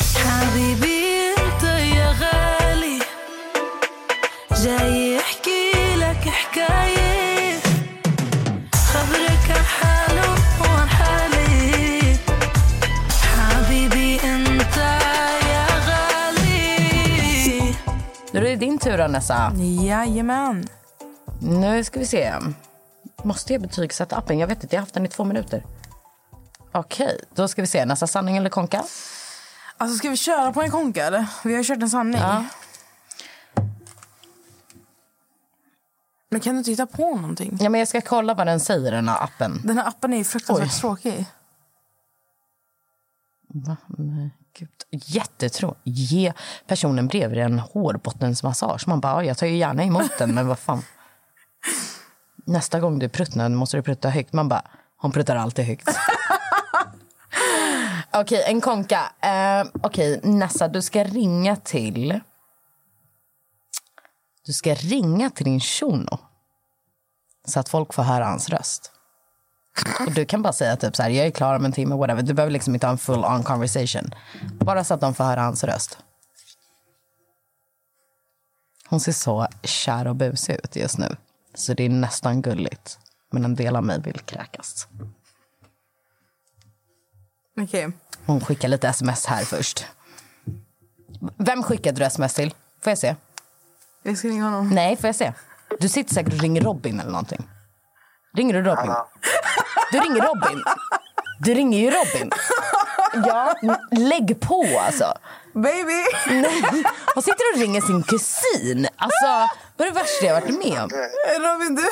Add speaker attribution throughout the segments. Speaker 1: حبيبي انت يا غالي جاي احكي لك حكاية خبرك عن حاله وعن حالي حبيبي انت يا غالي
Speaker 2: Nu är det din tur, Anessa.
Speaker 3: Jajamän.
Speaker 2: Nu ska vi se. Måste jag betygsätta appen? Jag vet inte, jag har haft den i två minuter. Okej, då ska vi se. Nästa sanning eller konka?
Speaker 3: Alltså ska vi köra på en konka eller? Vi har ju kört en sanning.
Speaker 2: Ja.
Speaker 3: Men kan du inte hitta på någonting?
Speaker 2: Ja, men jag ska kolla vad den säger, den här appen.
Speaker 3: Den här appen är ju fruktansvärt
Speaker 2: Oj.
Speaker 3: tråkig.
Speaker 2: Va? Nej, gud. Jättetråkigt. Ge personen bredvid en hårbottensmassage. Man bara, ja, jag tar ju gärna emot den, men vad fan. Nästa gång du pruttnar måste du prutta högt. Man bara, hon pruttar alltid högt. Okej, en konka. Eh, Okej, Nessa, du ska ringa till... Du ska ringa till din shuno så att folk får höra hans röst. Och du kan bara säga typ så här, jag är klar om en timme, whatever. Du behöver liksom inte ha en full on conversation. Bara så att de får höra hans röst. Hon ser så kär och busig ut just nu. Så det är nästan gulligt. Men en del av mig vill kräkas.
Speaker 3: Okej.
Speaker 2: Hon skickar lite sms här först. Vem skickade du sms till? Får jag se?
Speaker 3: Jag ska ringa honom.
Speaker 2: Nej, får jag se? Du sitter säkert och ringer Robin eller någonting. Ringer du Robin? Du ringer Robin. Du ringer ju Robin. Ja, lägg på alltså.
Speaker 3: Baby!
Speaker 2: Hon sitter och ringer sin kusin. Alltså, vad är det värsta jag har varit med om?
Speaker 3: Robin du.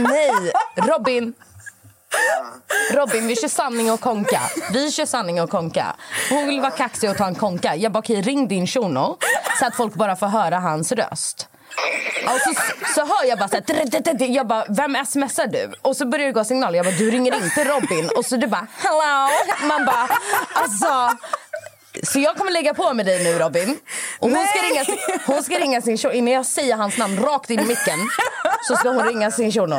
Speaker 2: Nej, Robin. Robin, vi kör sanning och konka. Vi kör sanning och konka. Hon vill vara kaxig och ta en konka. Jag bara, okej, ring din shuno så att folk bara får höra hans röst. Och så, så hör jag bara så här, tr- tr- tr- tr- jag bara, vem smsar du? Och så börjar det gå signaler. Jag bara, du ringer inte Robin. Och så du bara, hello. Man bara, alltså. Så jag kommer lägga på med dig nu Robin. Och hon, ska ringa, sin- hon ska ringa sin shuno. Innan jag säger hans namn rakt in i micken så ska hon ringa sin shuno.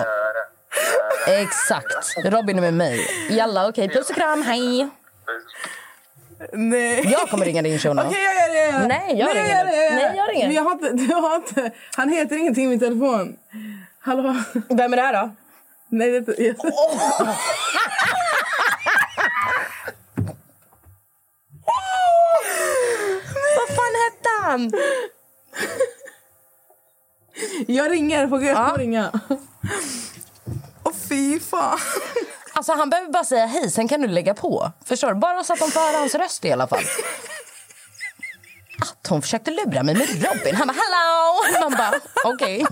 Speaker 2: Exakt. Robin är med mig. Jalla, okej. Puss och kram, hej.
Speaker 3: Nej.
Speaker 2: Jag kommer ringa din shuno.
Speaker 3: Okej jag gör det. gör det.
Speaker 2: Nej, jag ringer
Speaker 3: gör
Speaker 2: nu.
Speaker 3: det, gör det.
Speaker 2: Nej, jag ringer.
Speaker 3: Men jag har inte, du har inte. Han heter ingenting i min telefon. Hallå?
Speaker 2: Vem är det här då?
Speaker 3: Nej det är inte. jag-
Speaker 2: Vad fan hette han?
Speaker 3: Jag ringer. Får jag
Speaker 2: Ja.
Speaker 3: ringa? Åh fy fan.
Speaker 2: Alltså han behöver bara säga hej, sen kan du lägga på. Förstår du? Bara så att de får höra hans röst i alla fall. Att hon försökte lura mig med Robin. Han bara hello! Man bara okej.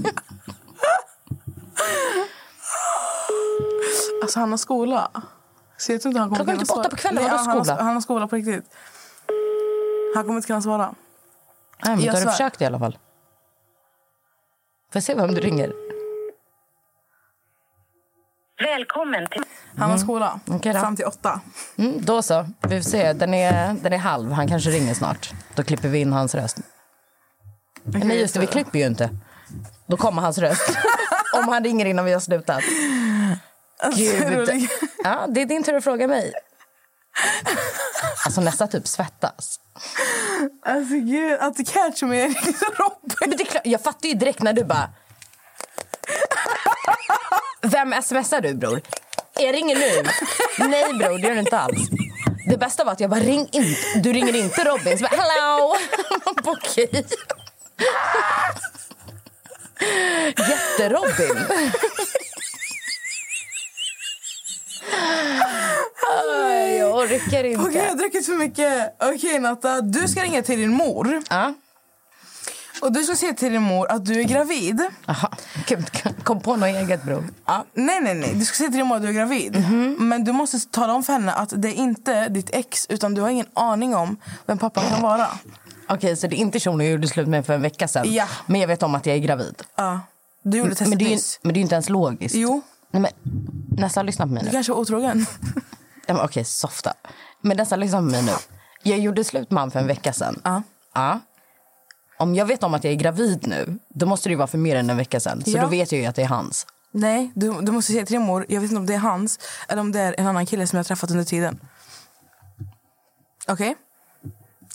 Speaker 3: Alltså han har skola. Så jag tror inte han kommer
Speaker 2: Klockan är
Speaker 3: kunna
Speaker 2: typ åtta
Speaker 3: svara.
Speaker 2: på kvällen,
Speaker 3: Nej,
Speaker 2: vadå
Speaker 3: han, har,
Speaker 2: skola?
Speaker 3: han har skola på riktigt. Han kommer inte kunna svara.
Speaker 2: Nej men då
Speaker 3: Jag
Speaker 2: har du
Speaker 3: svär.
Speaker 2: försökt i alla fall. Får jag se vem du ringer?
Speaker 4: Välkommen till...
Speaker 3: Han har skola
Speaker 2: Mm. Okej då.
Speaker 3: fram till åtta.
Speaker 2: Mm, då så. Vi får se. Den är, den är halv. Han kanske ringer snart. Då klipper vi in hans röst. Nej, just det. Vi klipper ju inte. Då kommer hans röst. Om han ringer innan vi har slutat. Gud.
Speaker 3: rolig.
Speaker 2: Ja, det är din tur att fråga mig. Alltså nästa typ svettas.
Speaker 3: Alltså gud, att du catch mig är riktigt Robin.
Speaker 2: Men det är klart, jag fattar ju direkt när du bara... Vem smsar du, bror? Jag ringer nu. Nej, bror, det gör du inte alls. Det bästa var att jag bara ring inte. Du ringer inte Robin. Så bara, hello! Okej. Jätte-Robin. Aj, Jag orkar
Speaker 3: Okej, jag
Speaker 2: inte.
Speaker 3: har druckit för mycket. Okej Natta, du ska ringa till din mor.
Speaker 2: Ja.
Speaker 3: Och du ska säga till din mor att du är gravid.
Speaker 2: Aha. Gud, kom på något eget, bror.
Speaker 3: Ja. Nej, nej, nej. Du ska säga till din mor att du är gravid.
Speaker 2: Mhm.
Speaker 3: Men du måste tala om för henne att det är inte ditt ex utan du har ingen aning om vem pappan kan vara.
Speaker 2: Okej, så det är inte Shono jag gjorde slut med för en vecka sedan.
Speaker 3: Ja.
Speaker 2: Men jag vet om att jag är gravid.
Speaker 3: Ja. Du gjorde testet
Speaker 2: Men det är ju,
Speaker 3: nyss.
Speaker 2: men det är ju inte ens logiskt.
Speaker 3: Jo,
Speaker 2: Nej, men, nästa, lyssna på mig
Speaker 3: du
Speaker 2: nu.
Speaker 3: kanske var otrogen.
Speaker 2: Ja, men Okej, softa. Men nästan liksom mig nu. Jag gjorde slut med han för en vecka sedan.
Speaker 3: Ja.
Speaker 2: Ja. Om jag vet om att jag är gravid nu, då måste det ju vara för mer än en vecka sedan. Så
Speaker 3: Ja.
Speaker 2: då vet jag ju att det är hans.
Speaker 3: Nej, du, du måste säga till din mor. Jag vet inte om det är hans eller om det är en annan kille som jag har träffat under tiden. Okej?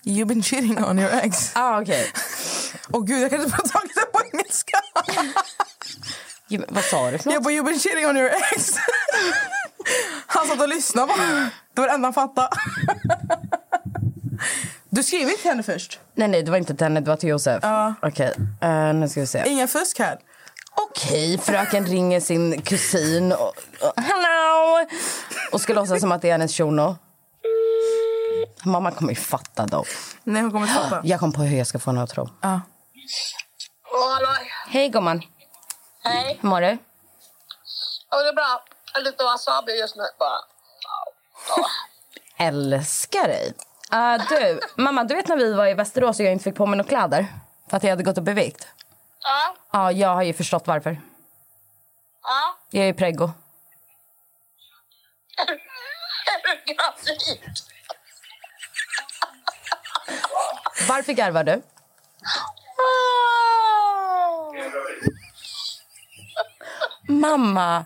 Speaker 3: You've been cheating on your ex.
Speaker 2: Ah, okej.
Speaker 3: Åh gud, jag kan inte prata om det på engelska.
Speaker 2: Vad sa du för
Speaker 3: Jag
Speaker 2: något?
Speaker 3: bara, you've been cheating on your ex. Han satt och lyssnade på Det var det enda han fattade. Du skriver till henne först.
Speaker 2: Nej, nej, det var inte till henne, det var till Josef.
Speaker 3: Ja.
Speaker 2: Okej, eh, nu ska vi se.
Speaker 3: Inga fusk här.
Speaker 2: Okej, fröken ringer sin kusin och, och hello! Och ska låtsas som att det är hennes shuno. Mamma kommer ju fatta då.
Speaker 3: Nej, hon kommer inte fatta.
Speaker 2: Jag kom på hur jag ska få henne att tro.
Speaker 3: Ja.
Speaker 5: Hallå.
Speaker 2: Hej gumman,
Speaker 5: Hej.
Speaker 2: hur mår du?
Speaker 5: Ja, det är bra. Jag har lite wasabi just nu bara.
Speaker 2: älskar dig. Ah, du, mamma, du vet när vi var i Västerås och jag inte fick på mig några kläder? För att jag hade gått upp i vikt.
Speaker 5: Ja,
Speaker 2: Ja, jag har ju förstått varför.
Speaker 5: ja.
Speaker 2: Jag är ju preggo.
Speaker 5: Är du gravid?
Speaker 2: Varför garvar du?
Speaker 5: Ah.
Speaker 2: Mamma!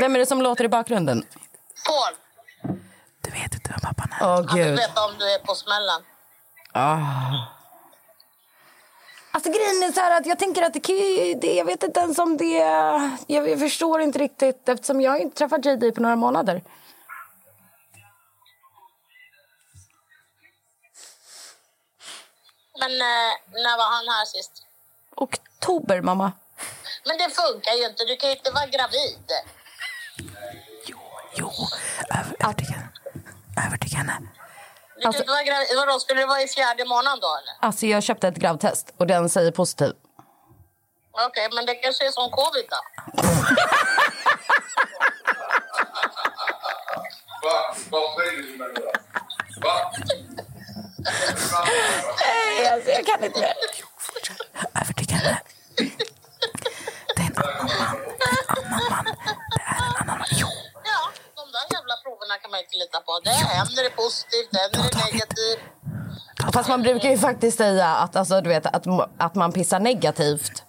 Speaker 2: Vem är det som låter i bakgrunden?
Speaker 5: Paul,
Speaker 3: Du vet inte vem pappan är.
Speaker 2: Åh,
Speaker 5: du
Speaker 2: gud.
Speaker 5: vet om du är på smällen.
Speaker 2: Alltså grejen är så här att jag tänker att det, kan ju- det jag vet inte ens om det... Jag, jag förstår inte riktigt eftersom jag har inte träffat JD på några månader.
Speaker 5: Men eh, när var han här sist?
Speaker 2: Oktober, mamma.
Speaker 5: Men det funkar ju inte. Du kan ju inte vara gravid.
Speaker 3: Jo, över, övertyga henne. Övertyga henne. Alltså-
Speaker 5: Du kan ju inte vara gravid. Vadå, skulle det vara i fjärde månaden då eller?
Speaker 2: Alltså jag köpte ett gravtest och den säger positiv.
Speaker 5: Okej, men det kanske är som covid då?
Speaker 2: Alltså, jag kan inte.
Speaker 3: Övertyga henne. Det är en annan man. Det är en annan man. Det är en annan man. Jo,
Speaker 5: Ja, de där jävla proverna kan man inte lita på. Det är en är det positivt, en är det negativt.
Speaker 2: Fast man brukar ju faktiskt säga att, alltså, du vet, att, att man pissar negativt.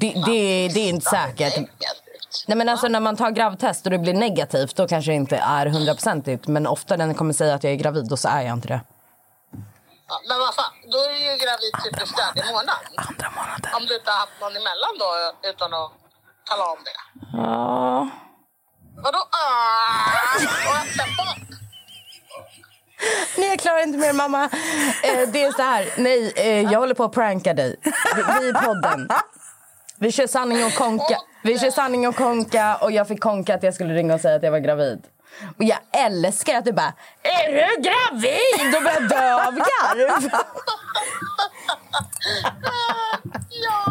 Speaker 2: Det, det, det är inte säkert.
Speaker 5: Negativt.
Speaker 2: Nej, men alltså, när man tar gravtest och det blir negativt då kanske det inte är hundraprocentigt. Men ofta den kommer säga att jag är gravid och så är jag inte det.
Speaker 5: Ja, men vad fan, då är du ju gravid typ i fjärde månaden.
Speaker 3: andra månaden.
Speaker 5: Om du inte har haft någon emellan då utan att tala om det. Vadå? Ah, och öppna bak.
Speaker 2: Nej, jag klarar inte mer mamma. Eh, det är så här, nej, eh, jag håller på att pranka dig. Vi- Vi i podden. Vi kör sanning och konka. Vi kör sanning och konka och jag fick konka att jag skulle ringa och säga att jag var gravid. Och jag älskar att du bara, är du gravid? Och börjar dö av garv.
Speaker 5: Ja.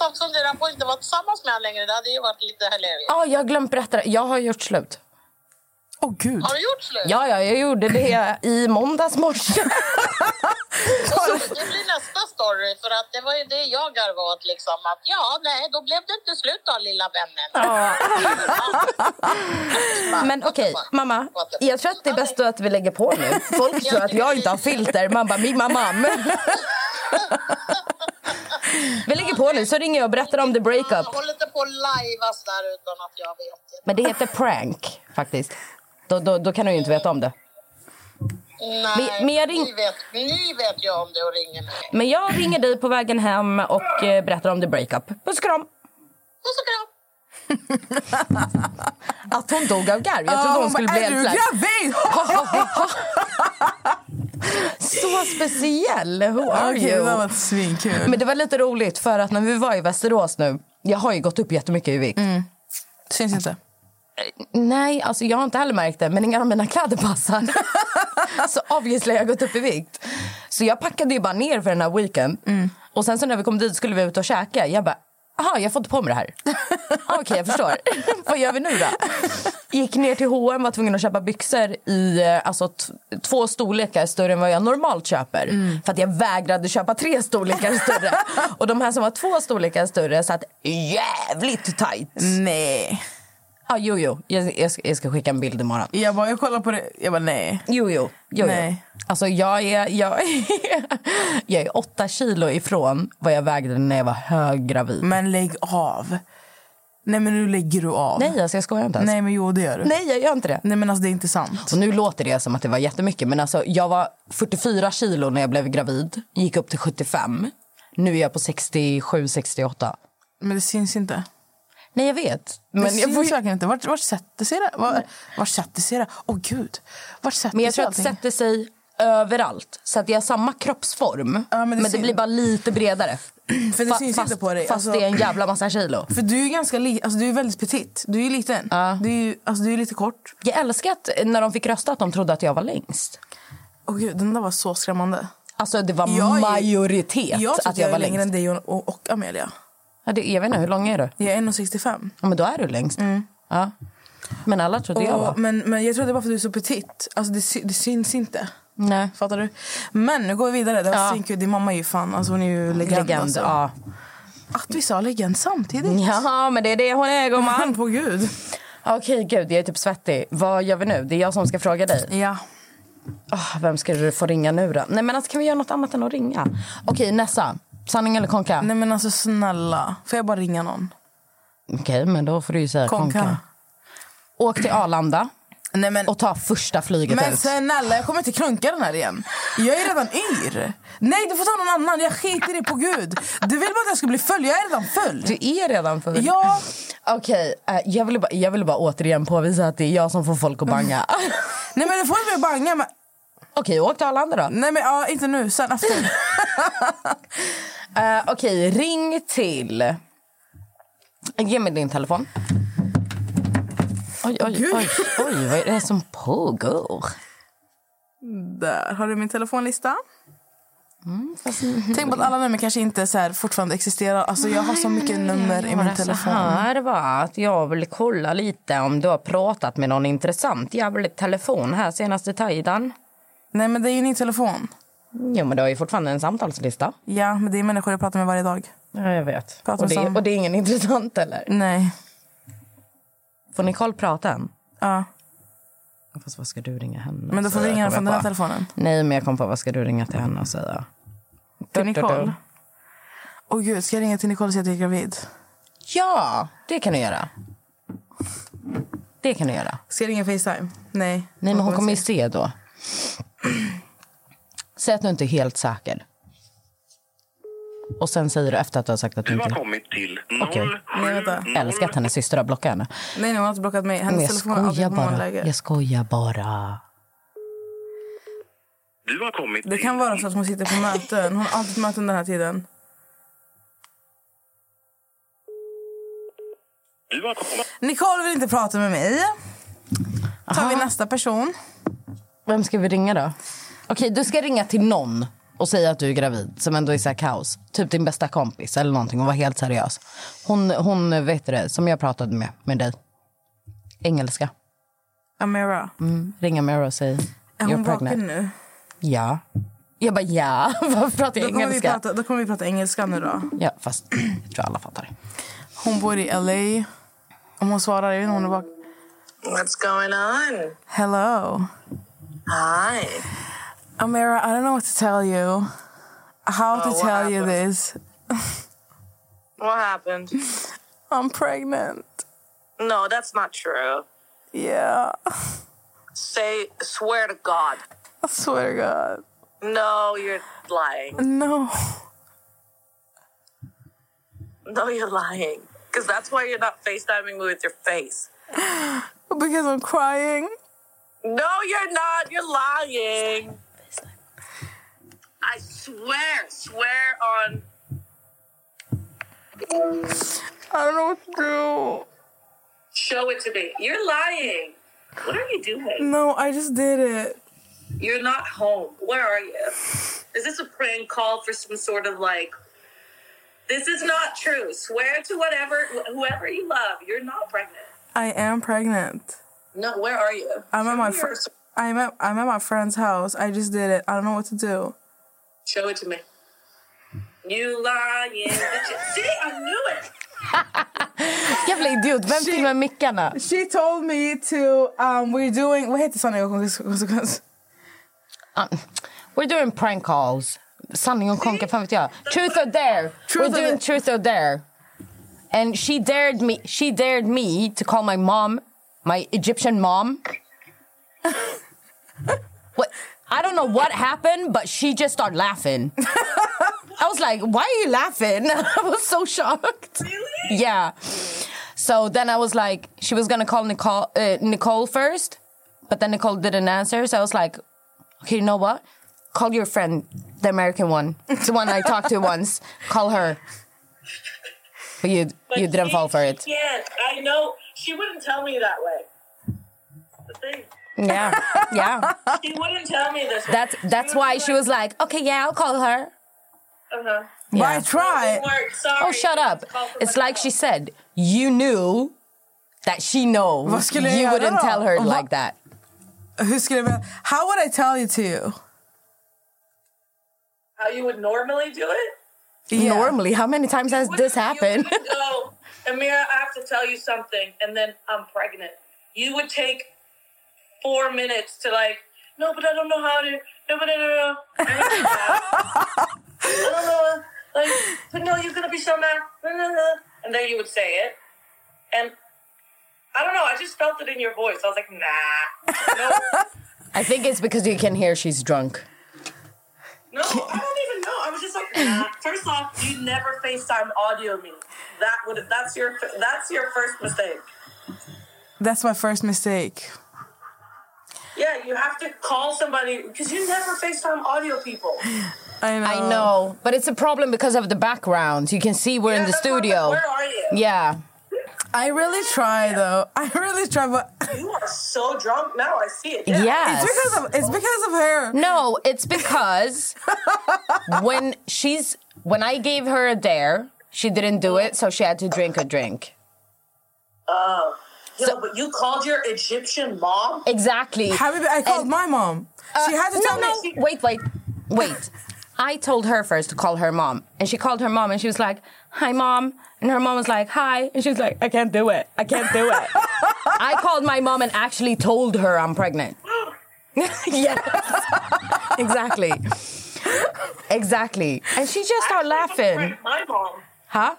Speaker 5: Som funderar på att inte vara tillsammans med honom längre. Det hade ju varit lite hilarious.
Speaker 2: Ja, jag har glömt berätta det. Jag har gjort slut.
Speaker 3: Åh gud.
Speaker 5: Har du gjort slut?
Speaker 2: Ja, ja, jag gjorde det i måndags morse.
Speaker 5: Det blir nästa story. För att det var ju det jag garvade åt liksom. Att ja, nej, då blev det inte slut då lilla vännen.
Speaker 2: Men okej, mamma. Jag tror att det är bäst att vi lägger på nu. Folk tror att jag inte har filter. Man bara, min mamma. Vi lägger på nu, så ringer jag och berättar om the breakup.
Speaker 5: Jag håller inte på att lajvas där utan att jag vet det.
Speaker 2: Men det heter prank, faktiskt. Då, då, då kan du ju inte veta om det.
Speaker 5: Nej,
Speaker 2: Men- men jag ring-
Speaker 5: ni, vet, ni vet ju om det och ringer mig.
Speaker 2: Men jag ringer dig på vägen hem och eh, berättar om the breakup. Puss och kram!
Speaker 5: Puss och kram!
Speaker 2: Att hon dog av garv. Jag
Speaker 3: Ja,
Speaker 2: trodde hon
Speaker 3: hon
Speaker 2: skulle
Speaker 3: bara,
Speaker 2: bli
Speaker 3: är du
Speaker 2: helt så här-
Speaker 3: gravid?
Speaker 2: Så speciell! Who are
Speaker 3: Okej, det
Speaker 2: you?
Speaker 3: där var svinkul.
Speaker 2: Men det var lite roligt för att när vi var i Västerås nu, jag har ju gått upp jättemycket i vikt.
Speaker 3: Syns inte.
Speaker 2: Nej, alltså jag har inte heller märkt det, men inga av mina kläder passar. så obviously har jag gått upp i vikt. Så jag packade ju bara ner för den här weekend. Och sen så när vi kom dit skulle vi ut och käka, jag bara aha, jag får inte på mig det här. Ah, Okej, jag förstår. Vad gör vi nu då? Gick ner till H&M var tvungen att köpa byxor i eh, alltså, t- två storlekar större än vad jag normalt köper. För att jag vägrade köpa tre storlekar större. Och de här som var två storlekar större satt jävligt tajt.
Speaker 3: Mm. Nej.
Speaker 2: Ah, jo, jo. Jag, jag, ska, jag ska skicka en bild imorgon.
Speaker 3: Jag bara, jag kollar på det. Jag bara, nej.
Speaker 2: Jo, jo. jo, jo.
Speaker 3: Nej.
Speaker 2: Alltså, jag är, jag, är, jag är åtta kilo ifrån vad jag vägde när jag var höggravid.
Speaker 3: Men lägg av. Nej, men nu lägger du av.
Speaker 2: Nej, alltså, jag skojar inte ens.
Speaker 3: Nej, men jo, det gör du.
Speaker 2: Nej, jag gör inte det.
Speaker 3: Nej, men alltså det är inte sant.
Speaker 2: Och nu låter det som att det var jättemycket, men alltså, jag var 44 kilo när jag blev gravid. Gick upp till 75. Nu är jag på 67-68.
Speaker 3: Men det syns inte.
Speaker 2: Nej, jag vet.
Speaker 3: Men det
Speaker 2: Men jag,
Speaker 3: syns
Speaker 2: får,
Speaker 3: verkligen inte. Vart, vart sätter sig det? Var, vart sätter sig det? Åh gud. Vart sätter
Speaker 2: men jag
Speaker 3: sig
Speaker 2: tror att det
Speaker 3: allting?
Speaker 2: sätter sig överallt. Så att jag har samma kroppsform,
Speaker 3: Ja, men
Speaker 2: men
Speaker 3: det
Speaker 2: det,
Speaker 3: syns-
Speaker 2: blir bara lite bredare.
Speaker 3: För det
Speaker 2: Fa-
Speaker 3: syns
Speaker 2: fast,
Speaker 3: inte på dig.
Speaker 2: Fast
Speaker 3: Alltså-
Speaker 2: det är en jävla massa kilo.
Speaker 3: För du är ju ganska li- alltså, du är väldigt petit. Du är ju liten. Du, är ju, alltså, du är lite kort.
Speaker 2: Jag älskar att eh, när de fick rösta att de trodde att jag var längst.
Speaker 3: Åh gud, den där var så skrämmande.
Speaker 2: Alltså det var
Speaker 3: Jag är-
Speaker 2: majoritet
Speaker 3: Jag tror
Speaker 2: att jag, var
Speaker 3: längre
Speaker 2: längst.
Speaker 3: än dig och, och, och Amelia.
Speaker 2: Ja, det, jag vet inte, hur lång är du?
Speaker 3: Jag är 1,65.
Speaker 2: Ja, men då är du längst.
Speaker 3: Mm.
Speaker 2: Ja. Men alla trodde jag var.
Speaker 3: Och- Men, men jag tror det är bara för att du är så petit. Alltså det, sy- det syns inte. Mm,
Speaker 2: Nej.
Speaker 3: Fattar du? Men nu går vi vidare. Det var
Speaker 2: Ja.
Speaker 3: svinkul. Din mamma är ju fan, alltså hon är ju legend.
Speaker 2: Legend,
Speaker 3: alltså.
Speaker 2: ja.
Speaker 3: Att vi sa legend samtidigt.
Speaker 2: Ja, men det är det hon är gumman.
Speaker 3: Man på gud.
Speaker 2: Okej, gud, jag är typ svettig. Vad gör vi nu? Det är jag som ska fråga dig.
Speaker 3: Ja.
Speaker 2: Ah, vem ska du få ringa nu då? Nej, men alltså, kan vi göra något annat än att ringa? Okej, Nessa. Sanning eller konka?
Speaker 3: Nej men alltså snälla. Får jag bara ringa någon?
Speaker 2: Okej, men då får du ju säga konka.
Speaker 3: Konka.
Speaker 2: Åk till Arlanda
Speaker 3: Nej men.
Speaker 2: och ta första flyget
Speaker 3: Men
Speaker 2: ut.
Speaker 3: snälla jag kommer inte klunka den här igen. Jag är redan yr. Nej du får ta någon annan. Jag skiter i på gud. Du vill bara att jag ska bli full. Jag är redan full.
Speaker 2: Du är redan full.
Speaker 3: Ja.
Speaker 2: Okej, eh, jag, ville bara, jag ville bara återigen påvisa att det är jag som får folk att banga.
Speaker 3: Nej men du får inte börja banga. Men...
Speaker 2: Okej, åk till Arlanda då.
Speaker 3: Nej men ja, inte nu. Sen alltså, efter.
Speaker 2: Eh, Okej, ring till... Ge mig din telefon. Oj, oj, oj, oj, vad är det som pågår?
Speaker 3: Där har du min telefonlista.
Speaker 2: Mm, fast-
Speaker 3: Tänk på att alla nummer kanske inte så här fortfarande existerar. Alltså jag har så mycket nummer i min
Speaker 2: Bara Så
Speaker 3: telefon.
Speaker 2: här va, att jag vill kolla lite om du har pratat med någon intressant jävla telefon här senaste tiden.
Speaker 3: Nej men det är ju din telefon.
Speaker 2: Jo, men du har ju fortfarande en samtalslista.
Speaker 3: Ja men det är människor jag pratar med varje dag.
Speaker 2: Ja, jag vet.
Speaker 3: Pratar
Speaker 2: Och
Speaker 3: med
Speaker 2: det,
Speaker 3: samma.
Speaker 2: och det är ingen intressant heller.
Speaker 3: Nej.
Speaker 2: Får Nicole prata än?
Speaker 3: Ja.
Speaker 2: Fast vad ska du ringa henne?
Speaker 3: Men då
Speaker 2: och
Speaker 3: får vi
Speaker 2: säga,
Speaker 3: ringa den
Speaker 2: kom
Speaker 3: från
Speaker 2: jag
Speaker 3: den här
Speaker 2: på.
Speaker 3: telefonen.
Speaker 2: Nej, men jag kom på vad ska du ringa till henne och säga?
Speaker 3: Till
Speaker 2: Du, du, du.
Speaker 3: Nicole. Åh gud, ska jag ringa till Nicole och säga att jag är gravid?
Speaker 2: Ja, det kan du göra. Det kan du göra.
Speaker 3: Ska jag ringa Facetime? Nej.
Speaker 2: Nej, men hon kommer ju se då. Säg att du inte är helt säker. Och sen säger du efter att du har sagt att du inte...
Speaker 6: kommit till
Speaker 2: Okej.
Speaker 3: Nej, vänta.
Speaker 2: Jag älskar att hennes syster har blockat henne.
Speaker 3: Nej, nej, hon har inte blockat mig.
Speaker 2: Men
Speaker 3: Hennes
Speaker 2: jag
Speaker 3: telefon är alltid
Speaker 2: skojar
Speaker 3: på
Speaker 2: bara.
Speaker 3: morgonläge.
Speaker 2: Jag skojar bara.
Speaker 6: Du har kommit
Speaker 3: Det kan vara så att hon sitter på möten. Hon har alltid möten den här tiden.
Speaker 6: Du har kommit...
Speaker 3: Nicole vill inte prata med mig. Tar vi nästa person.
Speaker 2: Vem ska vi ringa då? Okej, du ska ringa till någon och säga att du är gravid, som ändå är så här kaos. Typ din bästa kompis eller någonting och vara helt seriös. Hon, hon vet du det, som jag pratade med, med dig. Engelska.
Speaker 3: Amira.
Speaker 2: Mm. Ringa Mira och säg
Speaker 3: Är
Speaker 2: you're
Speaker 3: hon
Speaker 2: pregnant.
Speaker 3: vaken nu?
Speaker 2: Ja. Jag bara ja, varför pratar
Speaker 3: Då
Speaker 2: jag
Speaker 3: kommer, vi
Speaker 2: engelska?
Speaker 3: prata, då kommer vi prata engelska nu då.
Speaker 2: Ja, fast jag tror alla fattar.
Speaker 3: Hon bor i LA. Om hon svarar, jag vet inte om hon är vaken.
Speaker 5: What's going on?
Speaker 3: Hello.
Speaker 5: Hi.
Speaker 3: Amira, I don't know what to tell you. How
Speaker 5: Oh,
Speaker 3: to
Speaker 5: what
Speaker 3: tell you
Speaker 5: happened?
Speaker 3: this.
Speaker 5: What happened?
Speaker 3: I'm pregnant.
Speaker 5: No, that's not true.
Speaker 3: Yeah.
Speaker 5: Say, swear to God.
Speaker 3: I swear to God.
Speaker 5: No, you're lying.
Speaker 3: No.
Speaker 5: No, you're lying. Because that's why you're not FaceTiming me with your face.
Speaker 3: Because I'm crying.
Speaker 5: No, you're not. You're lying. I swear, swear on.
Speaker 3: I don't know what to
Speaker 5: Show it to me. You're lying. What are you
Speaker 3: do.
Speaker 5: doing?
Speaker 3: No, I just did it.
Speaker 5: You're not home. Where are you? Is this a prank call for some sort of like
Speaker 7: This is not true. Swear to whatever, whoever you love, you're not pregnant.
Speaker 3: I am pregnant.
Speaker 7: No, where are you?
Speaker 3: I'm
Speaker 7: Show
Speaker 3: at my
Speaker 7: me your-
Speaker 3: fr- I'm at I'm at my friend's house. I just did it. I don't know what to do.
Speaker 7: Show it to me. You lying bitch. See, I knew it.
Speaker 2: Jävla idiot, vem filmar mickarna?
Speaker 3: She told me to um we're doing vad heter sanning och konsekvens?
Speaker 2: We're doing prank calls. Sanning och konka, fan vet jag. Truth or dare. We're doing truth or dare. And she dared me, she dared me to call my mom, my Egyptian mom. what? I don't know what happened, but she just started laughing. I was like, why are you laughing? I was so shocked. Really? Yeah. So then I was like, she was gonna call Nicole, uh, Nicole first, but then Nicole didn't answer. So I was like, okay, you know what? Call your friend, the American one, the one I talked to once. Call her. But you, you didn't fall for it.
Speaker 7: Yes, I know. She wouldn't tell me that way. The thing.
Speaker 2: Yeah, yeah.
Speaker 7: She wouldn't tell me this. way.
Speaker 2: That's that's why she was like, okay, yeah, I'll call her.
Speaker 7: Uh-huh.
Speaker 2: Yeah. I
Speaker 7: It didn't work. Sorry.
Speaker 2: Oh, shut up.
Speaker 7: Call for
Speaker 2: It's
Speaker 7: my-
Speaker 2: like she said, you knew that she
Speaker 3: Vad
Speaker 2: knows.
Speaker 3: skulle jag
Speaker 2: You
Speaker 3: göra
Speaker 2: wouldn't
Speaker 3: då?
Speaker 2: tell her
Speaker 3: Och vad-
Speaker 2: like that.
Speaker 3: Hur skulle jag, How would I tell you to?
Speaker 7: How you would normally do it?
Speaker 2: Normally, how many times has this happened?
Speaker 7: You go, Amira, I have to tell you something, and then I'm pregnant. You would take four minutes to like, no, but I don't know how to. No, but I don't know. I don't know. Like, but no, you're gonna be so mad. No, no, no. And then you would say it, and I don't know. I just felt it in your voice. I was like, nah.
Speaker 2: I think it's because you can hear she's drunk.
Speaker 7: No, I don't even know. I was just like, nah. first off, you never FaceTime audio me. That would that's your that's your first mistake.
Speaker 3: That's my first mistake.
Speaker 7: Yeah, you have to call somebody because you never FaceTime audio people.
Speaker 3: I know.
Speaker 7: Oh.
Speaker 2: I know, but it's a problem because of the background. You can see we're in the
Speaker 7: that's why I'm like,
Speaker 2: studio.
Speaker 7: Where are you?
Speaker 2: Yeah.
Speaker 3: I really try though. I really try but
Speaker 7: You are so drunk now. I see it.
Speaker 2: Yes.
Speaker 3: it's because of it's because of her.
Speaker 2: No, it's because when she's when I gave her a dare, she didn't do it, so she had to drink a drink.
Speaker 7: Oh. Yo, but you called your Egyptian mom?
Speaker 2: Exactly.
Speaker 3: Habibi, I called my mom. she had to
Speaker 2: Uh, no,
Speaker 3: tell
Speaker 2: no.
Speaker 3: me
Speaker 2: Wait, wait, wait. I told her first to call her mom, and she called her mom, and she was like, "Hi, mom," and her mom was like, "Hi," and she was like, "I can't do it. I can't do it." I called my mom and actually told her I'm pregnant. yes, exactly, exactly. And she just started laughing,
Speaker 7: Prank my mom.
Speaker 2: huh?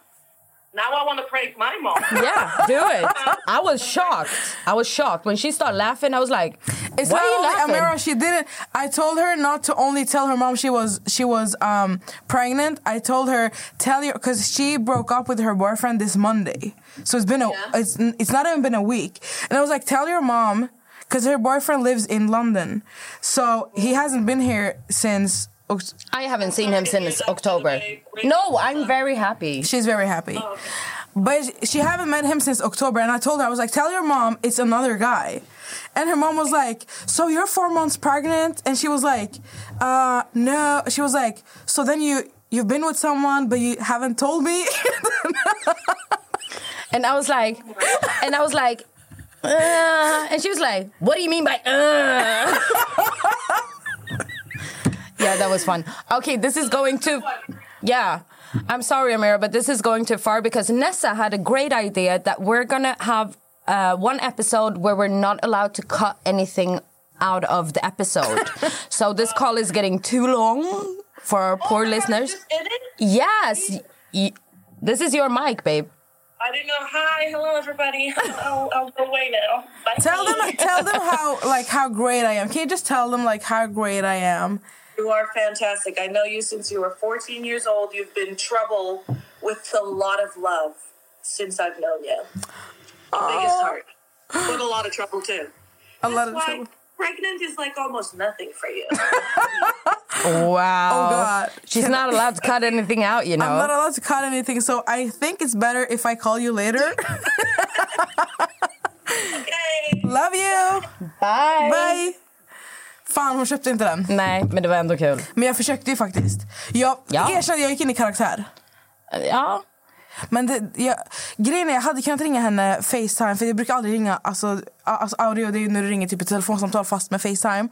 Speaker 7: Now I want to prank my mom.
Speaker 2: Yeah, do it. I was shocked. I was shocked when she started laughing. I was like,
Speaker 3: It's
Speaker 2: "Why
Speaker 3: not
Speaker 2: are you
Speaker 3: only
Speaker 2: laughing?"
Speaker 3: Amira. She didn't. I told her not to only tell her mom she was she was um pregnant. I told her tell your because she broke up with her boyfriend this Monday, so it's been a it's it's not even been a week. And I was like, tell your mom because her boyfriend lives in London, so he hasn't been here since. Oct-
Speaker 2: I haven't seen him since October. No, I'm very happy.
Speaker 3: She's very happy. But she- she haven't met him since October, and I told her I was like, "Tell your mom it's another guy," and her mom was like, "So you're four months pregnant?" And she was like, "Uh, no." She was like, "So then you you've been with someone, but you haven't told me."
Speaker 2: And I was like, and I was like, uh, and she was like, what do you mean by uh? yeah, that was fun. Okay, this is going to, yeah. I'm sorry, Amira, but this is going too far because Nessa had a great idea that we're gonna have uh, one episode where we're not allowed to cut anything out of the episode. so this call is getting too long for our
Speaker 7: Oh
Speaker 2: poor listeners.
Speaker 7: Just in it?
Speaker 2: Yes, y- this is your mic, babe.
Speaker 7: I didn't know. Hi, hello, everybody. I'll, I'll go away now. Bye.
Speaker 3: tell them, tell them how like how great I am. Can you just tell them like how great I am?
Speaker 7: You are fantastic. I know you since you were 14 years old. You've been trouble with a lot of love since I've known you. The biggest heart. But a lot of trouble, too.
Speaker 3: A lot of
Speaker 7: That's why
Speaker 3: trouble.
Speaker 7: pregnant is like almost nothing for you.
Speaker 2: Wow.
Speaker 3: Oh God,
Speaker 2: She's not allowed to cut anything out, you
Speaker 3: I'm not
Speaker 2: know.
Speaker 3: allowed to cut anything, so I think it's better if I call you later.
Speaker 7: Yay!
Speaker 3: Love you.
Speaker 2: Bye.
Speaker 3: Bye! Fan, hon köpte inte den.
Speaker 2: Nej, men det var ändå kul.
Speaker 3: Men jag försökte ju faktiskt. Jag
Speaker 2: Ja.
Speaker 3: erkände, jag gick in i karaktär.
Speaker 2: Ja.
Speaker 3: Men det, jag, grejen är, jag hade kunnat ringa henne Facetime för jag brukar aldrig ringa alltså, a- alltså audio det är ju när du ringer typ ett telefonsamtal fast med Facetime.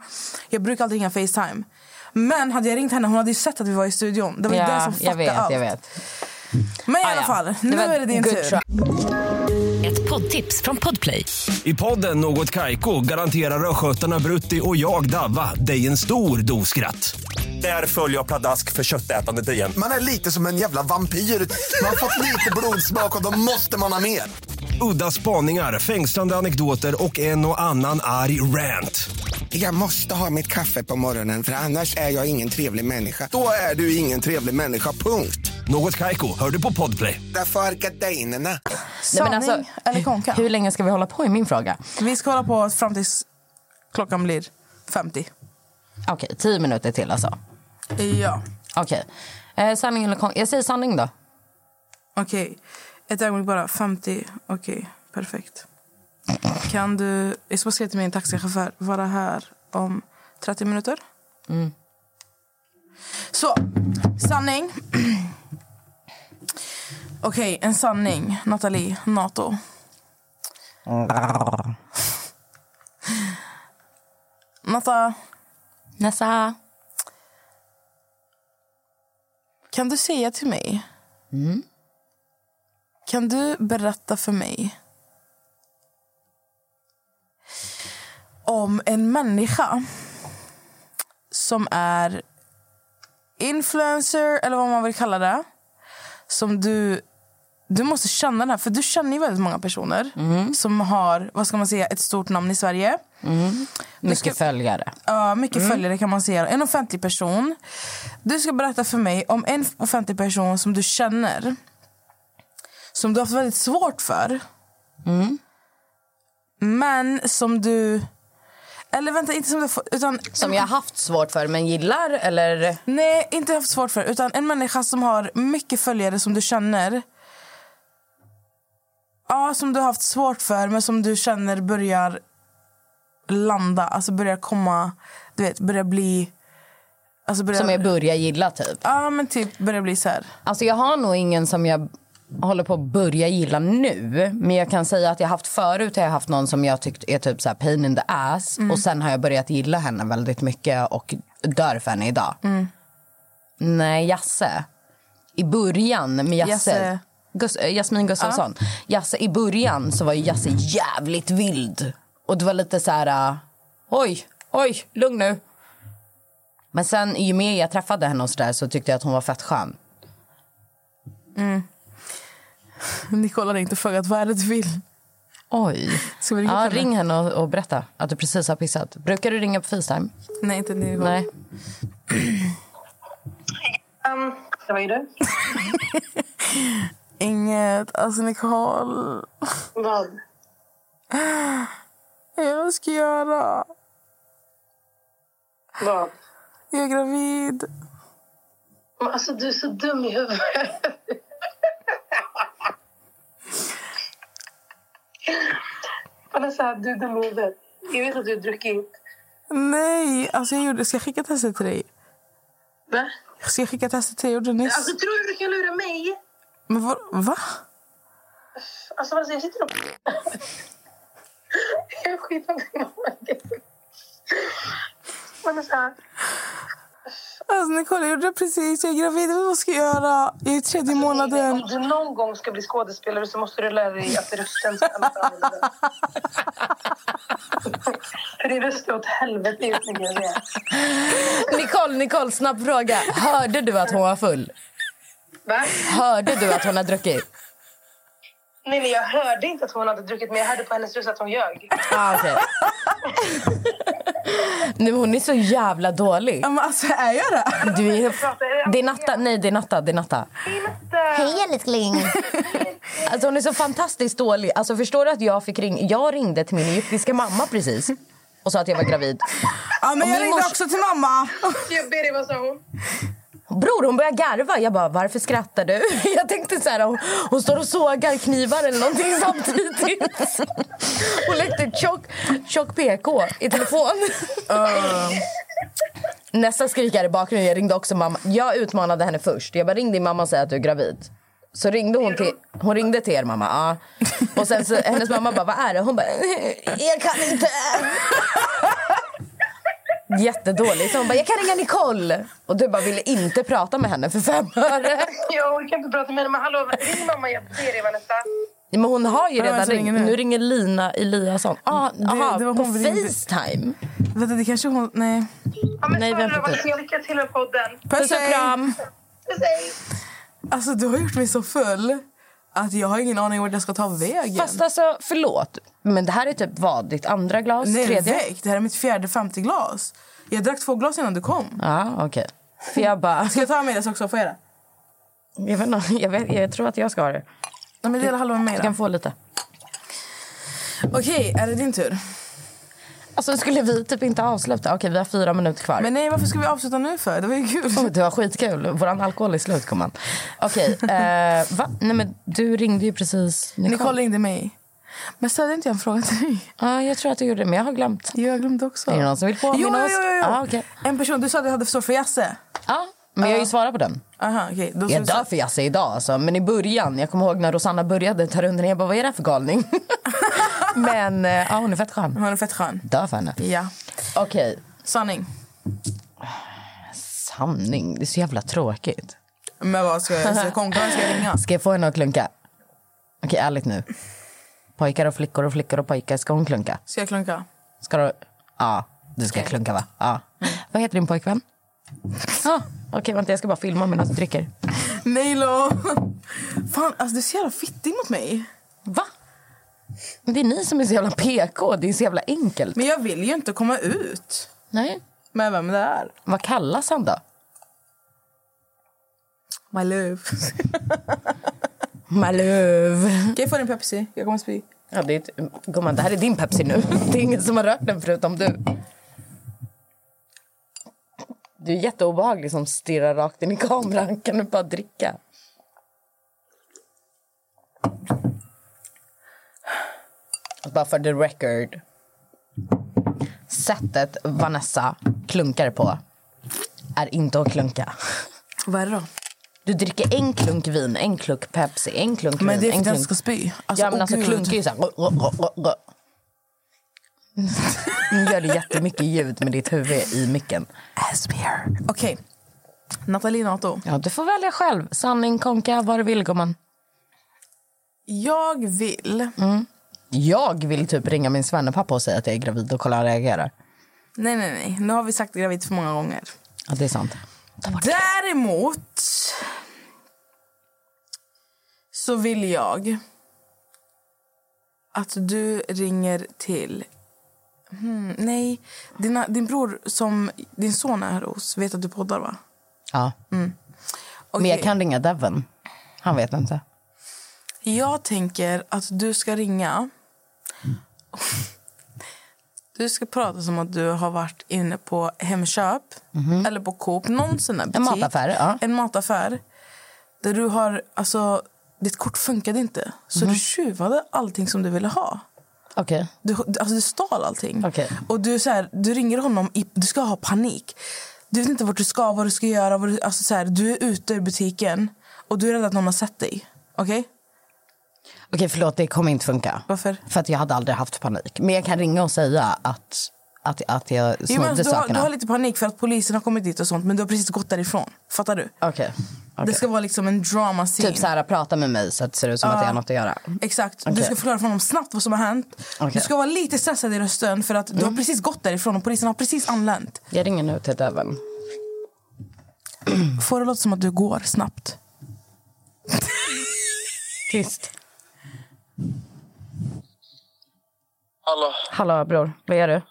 Speaker 3: Jag brukar aldrig ringa Facetime. Men hade jag ringt henne, hon hade ju sett att vi var i studion. Det var ju
Speaker 2: ja,
Speaker 3: det som
Speaker 2: jag
Speaker 3: fuckade
Speaker 2: vet,
Speaker 3: allt.
Speaker 2: jag vet.
Speaker 3: Men i
Speaker 2: Ah,
Speaker 3: alla
Speaker 2: ja.
Speaker 3: fall,
Speaker 2: Det
Speaker 3: nu
Speaker 2: var
Speaker 3: är det din
Speaker 2: good
Speaker 3: tur.
Speaker 2: try.
Speaker 8: Ett poddtips från Podplay.
Speaker 9: I podden Något Kaiko garanterar östgötarna Brutti och jag, Davva, dig en stor dos skratt. Där följer jag pladask för köttätandet igen.
Speaker 10: Man är lite som en jävla vampyr. Man har fått lite blodsmak och då måste man ha mer.
Speaker 9: Udda spaningar, fängslande anekdoter och en och annan arg rant.
Speaker 11: Jag måste ha mitt kaffe på morgonen för annars är jag ingen trevlig människa.
Speaker 10: Då är du ingen trevlig människa, punkt.
Speaker 9: Något Kaiko, hör du på podplay.
Speaker 10: Därför är gardinerna.
Speaker 3: Sanning eller konka?
Speaker 2: alltså, Hur länge ska vi hålla på i min fråga?
Speaker 3: Vi ska hålla på fram tills klockan blir 50.
Speaker 2: Okej, tio minuter till alltså.
Speaker 3: Ja.
Speaker 2: Okej. Eh, sanning eller konka? Jag säger sanning då.
Speaker 3: Okej. Ett ögonblick bara. 50. Okej, perfekt. Kan du... Jag ska bara skriva till min taxichaufför. Vara här om 30 minuter?
Speaker 2: Mm.
Speaker 3: Så, sanning. Okej, en sanning. Nathalie, Nato. Natta.
Speaker 2: Nessa.
Speaker 3: Kan du säga till mig? Kan du berätta för mig om en människa som är influencer, eller vad man vill kalla det, som du... Du måste känna den här, för du känner ju väldigt många personer som har vad ska man säga, ett stort namn i Sverige.
Speaker 2: Mm. Mycket följare.
Speaker 3: Ja, mycket
Speaker 2: Mm.
Speaker 3: följare kan man säga. En offentlig person. Du ska berätta för mig om en offentlig person som du känner. Som du har haft väldigt svårt för.
Speaker 2: Mm.
Speaker 3: Men som du... Eller vänta, inte som du har fått- utan
Speaker 2: Som jag har haft svårt för men gillar eller?
Speaker 3: Nej, inte haft svårt för. Utan en människa som har mycket följare som du känner. Ja, som du har haft svårt för men som du känner börjar landa. Alltså börjar komma, du vet, börjar bli... Alltså börjar...
Speaker 2: Som jag börjar gilla typ.
Speaker 3: Ja men typ börjar bli så här.
Speaker 2: Alltså jag har nog ingen som jag håller på att börja gilla nu. Men jag kan säga att jag haft förut har jag haft någon som jag tyckt är typ så här pain in the ass.
Speaker 3: Mm.
Speaker 2: Och sen har jag börjat gilla henne väldigt mycket och dör för henne idag.
Speaker 3: Mm.
Speaker 2: Nej, Jasse. I början med Jasse.
Speaker 3: Jasse.
Speaker 2: Gus- eh, Jasmin Gustafsson. Jasse, I början så var ju Jasse jävligt vild. Och det var lite så här... eh, Oj, oj, lugn nu. Men sen ju mer jag träffade henne och så, där, så tyckte jag att hon var fett skön.
Speaker 3: Mm. Nicola har inte frågat vad är det du vill.
Speaker 2: Oj.
Speaker 3: Ska vi ringa
Speaker 2: Ja,
Speaker 3: upp henne?
Speaker 2: ring henne och, och berätta att du precis har pissat. Brukar du ringa på Facetime?
Speaker 3: Nej, inte Nicola.
Speaker 2: Nej.
Speaker 7: Um, vad är du?
Speaker 3: Inget. Alltså Nicole.
Speaker 7: Vad?
Speaker 3: Jag ska göra.
Speaker 7: Vad?
Speaker 3: Jag är gravid.
Speaker 7: Men Alltså du är så dum i huvudet. Men alltså, du är dum i huvudet. Jag vet att du har druckit.
Speaker 3: Nej, alltså jag gjorde... Ska jag skicka testet till dig?
Speaker 7: Va?
Speaker 3: Ska jag skicka testet till dig? Jag gjorde nyss.
Speaker 7: Alltså tror du du kan lura mig?
Speaker 3: Men vad? Va?
Speaker 7: Alltså vad jag sitter och... jag skiter i vad det är. Men alltså,
Speaker 3: Alltså Nicole, jag gjorde det precis. Jag är gravid. Jag vet Vad ska jag göra? Jag är i tredje månaden.
Speaker 7: om du någon gång ska bli skådespelare så måste du lära dig att rösten ska låta annorlunda. För din röst är åt helvete just nu. grejen är.
Speaker 2: Nicole, Nicole, snabb fråga. Hörde du att hon var full?
Speaker 7: Va?
Speaker 2: Hörde du att hon har druckit?
Speaker 7: Nej, men jag hörde inte att hon hade druckit, men jag hörde på hennes röst att hon ljög.
Speaker 2: Ah, okej. Nu, hon är så jävla dålig.
Speaker 3: Men alltså, är jag det?
Speaker 2: Du är... Det är Natta. Nej, det är Natta. Det är Natta. Hej, älskling. Alltså, hon är så fantastiskt dålig. Alltså, förstår du att jag fick ring... Jag ringde till min egyptiska mamma precis och sa att jag var gravid.
Speaker 3: Ja, men
Speaker 2: Och
Speaker 3: jag
Speaker 2: min
Speaker 3: ringde
Speaker 2: mors-
Speaker 3: också till mamma.
Speaker 7: Jag ber dig, vad sa hon?
Speaker 2: Bror, hon börjar garva. Jag bara, varför skrattar du? Jag tänkte så här, hon, hon står och sågar knivar eller någonting samtidigt. Hon lekte tjock, tjock PK i telefon. Nästa skrikare i bakgrunden, jag ringde också mamma. Jag utmanade henne först. Jag bara, ring din mamma och säg att du är gravid. Så ringde hon till, hon ringde till er mamma. Ja. Och sen så, hennes mamma bara, vad är det? Hon bara, jag kan inte. Jättedåligt. Så hon bara, jag kan ringa Nicole. Och du bara ville inte prata med henne för fem öre.
Speaker 4: Jag orkar inte prata med henne, men hallå, ring mamma, jag ser dig Vanessa.
Speaker 2: Men hon har ju
Speaker 4: Ja, men
Speaker 2: redan
Speaker 4: så ringer
Speaker 2: ringt.
Speaker 4: nu.
Speaker 2: Nu ringer Lina Eliasson. Ah,
Speaker 3: Det-
Speaker 2: aha,
Speaker 3: det var
Speaker 2: på
Speaker 3: hon vi ringde.
Speaker 2: Facetime.
Speaker 3: Vänta, det kanske hon... Nej.
Speaker 4: Ja, men
Speaker 3: Nej,
Speaker 4: Nej,
Speaker 3: vi har
Speaker 4: Sandra,
Speaker 3: fått det.
Speaker 4: vad lycka till med podden.
Speaker 3: Puss och kram.
Speaker 4: Puss, hej.
Speaker 3: Alltså, du har gjort mig så full att jag har ingen aning vart jag ska ta vägen.
Speaker 2: Fast alltså, förlåt. Men det här är typ vad? Ditt andra glas?
Speaker 3: Nej,
Speaker 2: tredje?
Speaker 3: väck. Det här är mitt fjärde, femte glas. Jag drack två glas innan du kom.
Speaker 2: Ja, okej. För jag bara...
Speaker 3: Ska jag ta med det också? Får jag det?
Speaker 2: Jag, vet, inte, jag, vet, jag tror att jag ska ha det.
Speaker 3: Nej, men dela halva med mig
Speaker 2: Du
Speaker 3: då.
Speaker 2: kan få lite.
Speaker 3: Okej, är det din tur?
Speaker 2: Alltså skulle vi typ inte avsluta? Okej, vi har fyra minuter kvar.
Speaker 3: Men nej, varför ska vi avsluta nu för? Det var ju kul.
Speaker 2: Oh, det var skitkul. Vår alkohol är slut, gumman. Okej, eh, va? Nej men du ringde ju precis Nicole.
Speaker 3: Nicole ringde mig. Men ställde inte jag en fråga till dig?
Speaker 2: Ja, jag tror att du gjorde det, men jag har glömt.
Speaker 3: Jo, jag glömde också.
Speaker 2: Är det någon som vill
Speaker 3: Jo,
Speaker 2: påminna
Speaker 3: jo,
Speaker 2: oss?
Speaker 3: jo, jo.
Speaker 2: Ah, okej.
Speaker 3: En person, du sa att du hade förstått för Jasse.
Speaker 2: Ja, Men jag har ju svarat på den.
Speaker 3: Aha, okej. Då
Speaker 2: Jag är död för Jasse idag alltså. Men i början, jag kommer ihåg när Rosanna började ta runden jag bara, vad är det här för galning? men eh, ja, hon är fett skön.
Speaker 3: Hon är fett skön.
Speaker 2: Död för henne.
Speaker 3: Ja.
Speaker 2: Okej.
Speaker 3: Sanning.
Speaker 2: Sanning, det är så jävla tråkigt.
Speaker 3: Men vad ska jag säga? Konkan ska jag ringa?
Speaker 2: Ska jag få henne att klunka? Okej, ärligt nu. Pojkar och flickor och flickor och pojkar, ska hon klunka?
Speaker 3: Ska jag klunka?
Speaker 2: Ska du? Ja, du ska klunka va? Ja. Vad heter din pojkvän? Ja. Okej, vänta jag ska bara filma medan du dricker.
Speaker 3: Nej då. Fan, alltså du är så jävla fittig mot mig.
Speaker 2: Va? Men Det är ni som är så jävla PK, det är så jävla enkelt.
Speaker 3: Men jag vill ju inte komma ut.
Speaker 2: Nej.
Speaker 3: Med vem det är.
Speaker 2: Vad kallas han då?
Speaker 3: My love.
Speaker 2: My love.
Speaker 3: Kan jag få din Pepsi? Jag kommer spy.
Speaker 2: Ja, det, är ett- gumman, det här är din Pepsi nu. Det är ingen som har rört den förutom du. Du är jätteobehaglig som stirrar rakt in i kameran. Kan du bara dricka? Och Bara för the record. Sättet Vanessa klunkar på är inte att klunka.
Speaker 3: Vad är det då?
Speaker 2: Du dricker en klunk vin, en klunk Pepsi, en klunk vin,
Speaker 3: Men det är
Speaker 2: en
Speaker 3: för att jag
Speaker 2: klunk...
Speaker 3: inte ska spy. Alltså,
Speaker 2: ja, men
Speaker 3: åh,
Speaker 2: alltså
Speaker 3: gud.
Speaker 2: klunkar ju så här... Nu gör du jättemycket ljud med ditt huvud i micken.
Speaker 3: Asmir. Okej. Nathalie Nato.
Speaker 2: Ja, du får välja själv. Sanning, konka, vad du vill, gumman.
Speaker 3: Jag vill...
Speaker 2: Mm. Jag vill typ ringa min svennepappa och säga att jag är gravid och kolla hur han reagerar.
Speaker 3: Nej, nej, nej. Nu har vi sagt gravid för många gånger.
Speaker 2: Ja, det är sant.
Speaker 3: Däremot så vill jag att du ringer till... Hmm, nej, Dina, din bror som din son är hos vet att du poddar, va?
Speaker 2: Ja. Men jag kan ringa Devon. Han vet inte.
Speaker 3: Jag tänker att du ska ringa. Du ska prata som att du har varit inne på Hemköp eller på Coop, någon sån där butik.
Speaker 2: Mhm. En mataffär, ja.
Speaker 3: En mataffär. Där du har, alltså, ditt kort funkade inte.
Speaker 2: Mhm.
Speaker 3: Så du tjuvade allting som du ville ha.
Speaker 2: Okej.
Speaker 3: Du, alltså, du stal allting.
Speaker 2: Okej.
Speaker 3: Och du, är så här, du ringer honom, i, du ska ha panik. Du vet inte vart du ska, vad du ska göra. Vad du, alltså, så här, du är ute ur butiken och du är rädd att någon har sett dig. Okej?
Speaker 2: Okej, förlåt, det kommer inte funka.
Speaker 3: Varför?
Speaker 2: För att jag hade aldrig haft panik. Men jag kan ringa och säga att, att, att jag
Speaker 3: Jo, men
Speaker 2: snodde
Speaker 3: alltså, du, har, du
Speaker 2: sakerna.
Speaker 3: har lite panik för att polisen har kommit dit och sånt men du har precis gått därifrån. Fattar du?
Speaker 2: Okej.
Speaker 3: Det ska vara liksom en drama scene.
Speaker 2: Typ så här, prata med mig så att det ser ut som att jag har något att göra.
Speaker 3: Exakt. Du
Speaker 2: Okej.
Speaker 3: ska förklara för honom snabbt vad som har hänt.
Speaker 2: Okej. Mm.
Speaker 3: Du ska vara lite stressad i rösten för att du har precis gått därifrån och polisen har precis anlänt.
Speaker 2: Jag ringer nu till Devon. Mm.
Speaker 3: Får det låta som att du går snabbt?
Speaker 2: Tyst.
Speaker 12: Hallå.
Speaker 2: Hallå bror, vad gör du?
Speaker 12: Äh,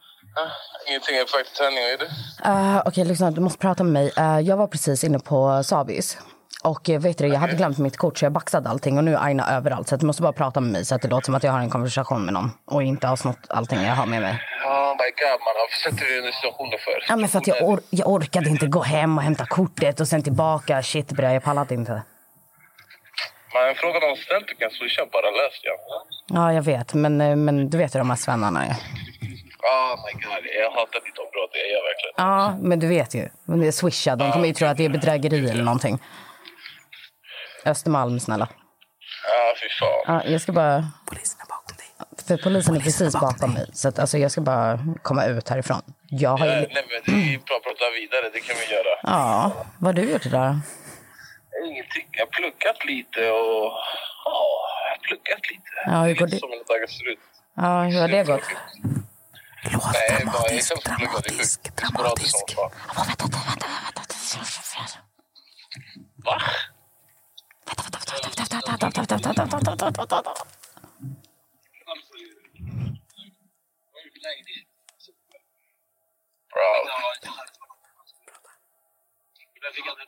Speaker 12: Ingenting, jag är på väg till träning. Vad är du?
Speaker 2: Eh, Okej, lyssna. Du måste prata med mig. Eh, jag var precis inne på Sabis. Och eh, vet du, jag hade glömt mitt kort så jag baxade allting och nu är Aina överallt. Så att du måste bara prata med mig så att det låter som att jag har en konversation med någon och inte har snott allting jag har med mig.
Speaker 12: Oh my god man, varför sätter du dig i den här situationen för?
Speaker 2: Ja, men för att jag, or- jag orkade inte gå hem och hämta kortet och sen tillbaka. Shit bre, jag pallade inte.
Speaker 12: Man, frågan har ställt du kan swisha bara, lös det.
Speaker 2: Ja, jag vet. Men, eh, men du vet hur de här svennarna är.
Speaker 12: Oh my god, jag hatar ditt område, jag gör verkligen.
Speaker 2: Ja, men du vet ju. Men det är swishad. De kommer ju tro att det är bedrägeri eller någonting. Östermalm, snälla.
Speaker 12: Ja, fy fan.
Speaker 2: Ja, jag ska bara... Polisen är bakom dig. För polisen är precis bakom mig. Så att, alltså, jag ska bara komma ut härifrån. Jag har ju...
Speaker 12: Eh, Nej, nej, men det är bra att prata vidare. Det kan vi göra.
Speaker 2: Ja, vad har du gjort idag?
Speaker 12: Ingenting. Jag har pluggat lite och... Ja, jag har pluggat lite.
Speaker 2: Ja, hur går
Speaker 12: Lite
Speaker 2: det?
Speaker 12: Som mina dagar ser ut.
Speaker 2: Ja, hur har det gått?
Speaker 12: Låt nej, dramatisk, bara, dramatisk, pluggat. dramatisk. Sporadisk som fan. Va?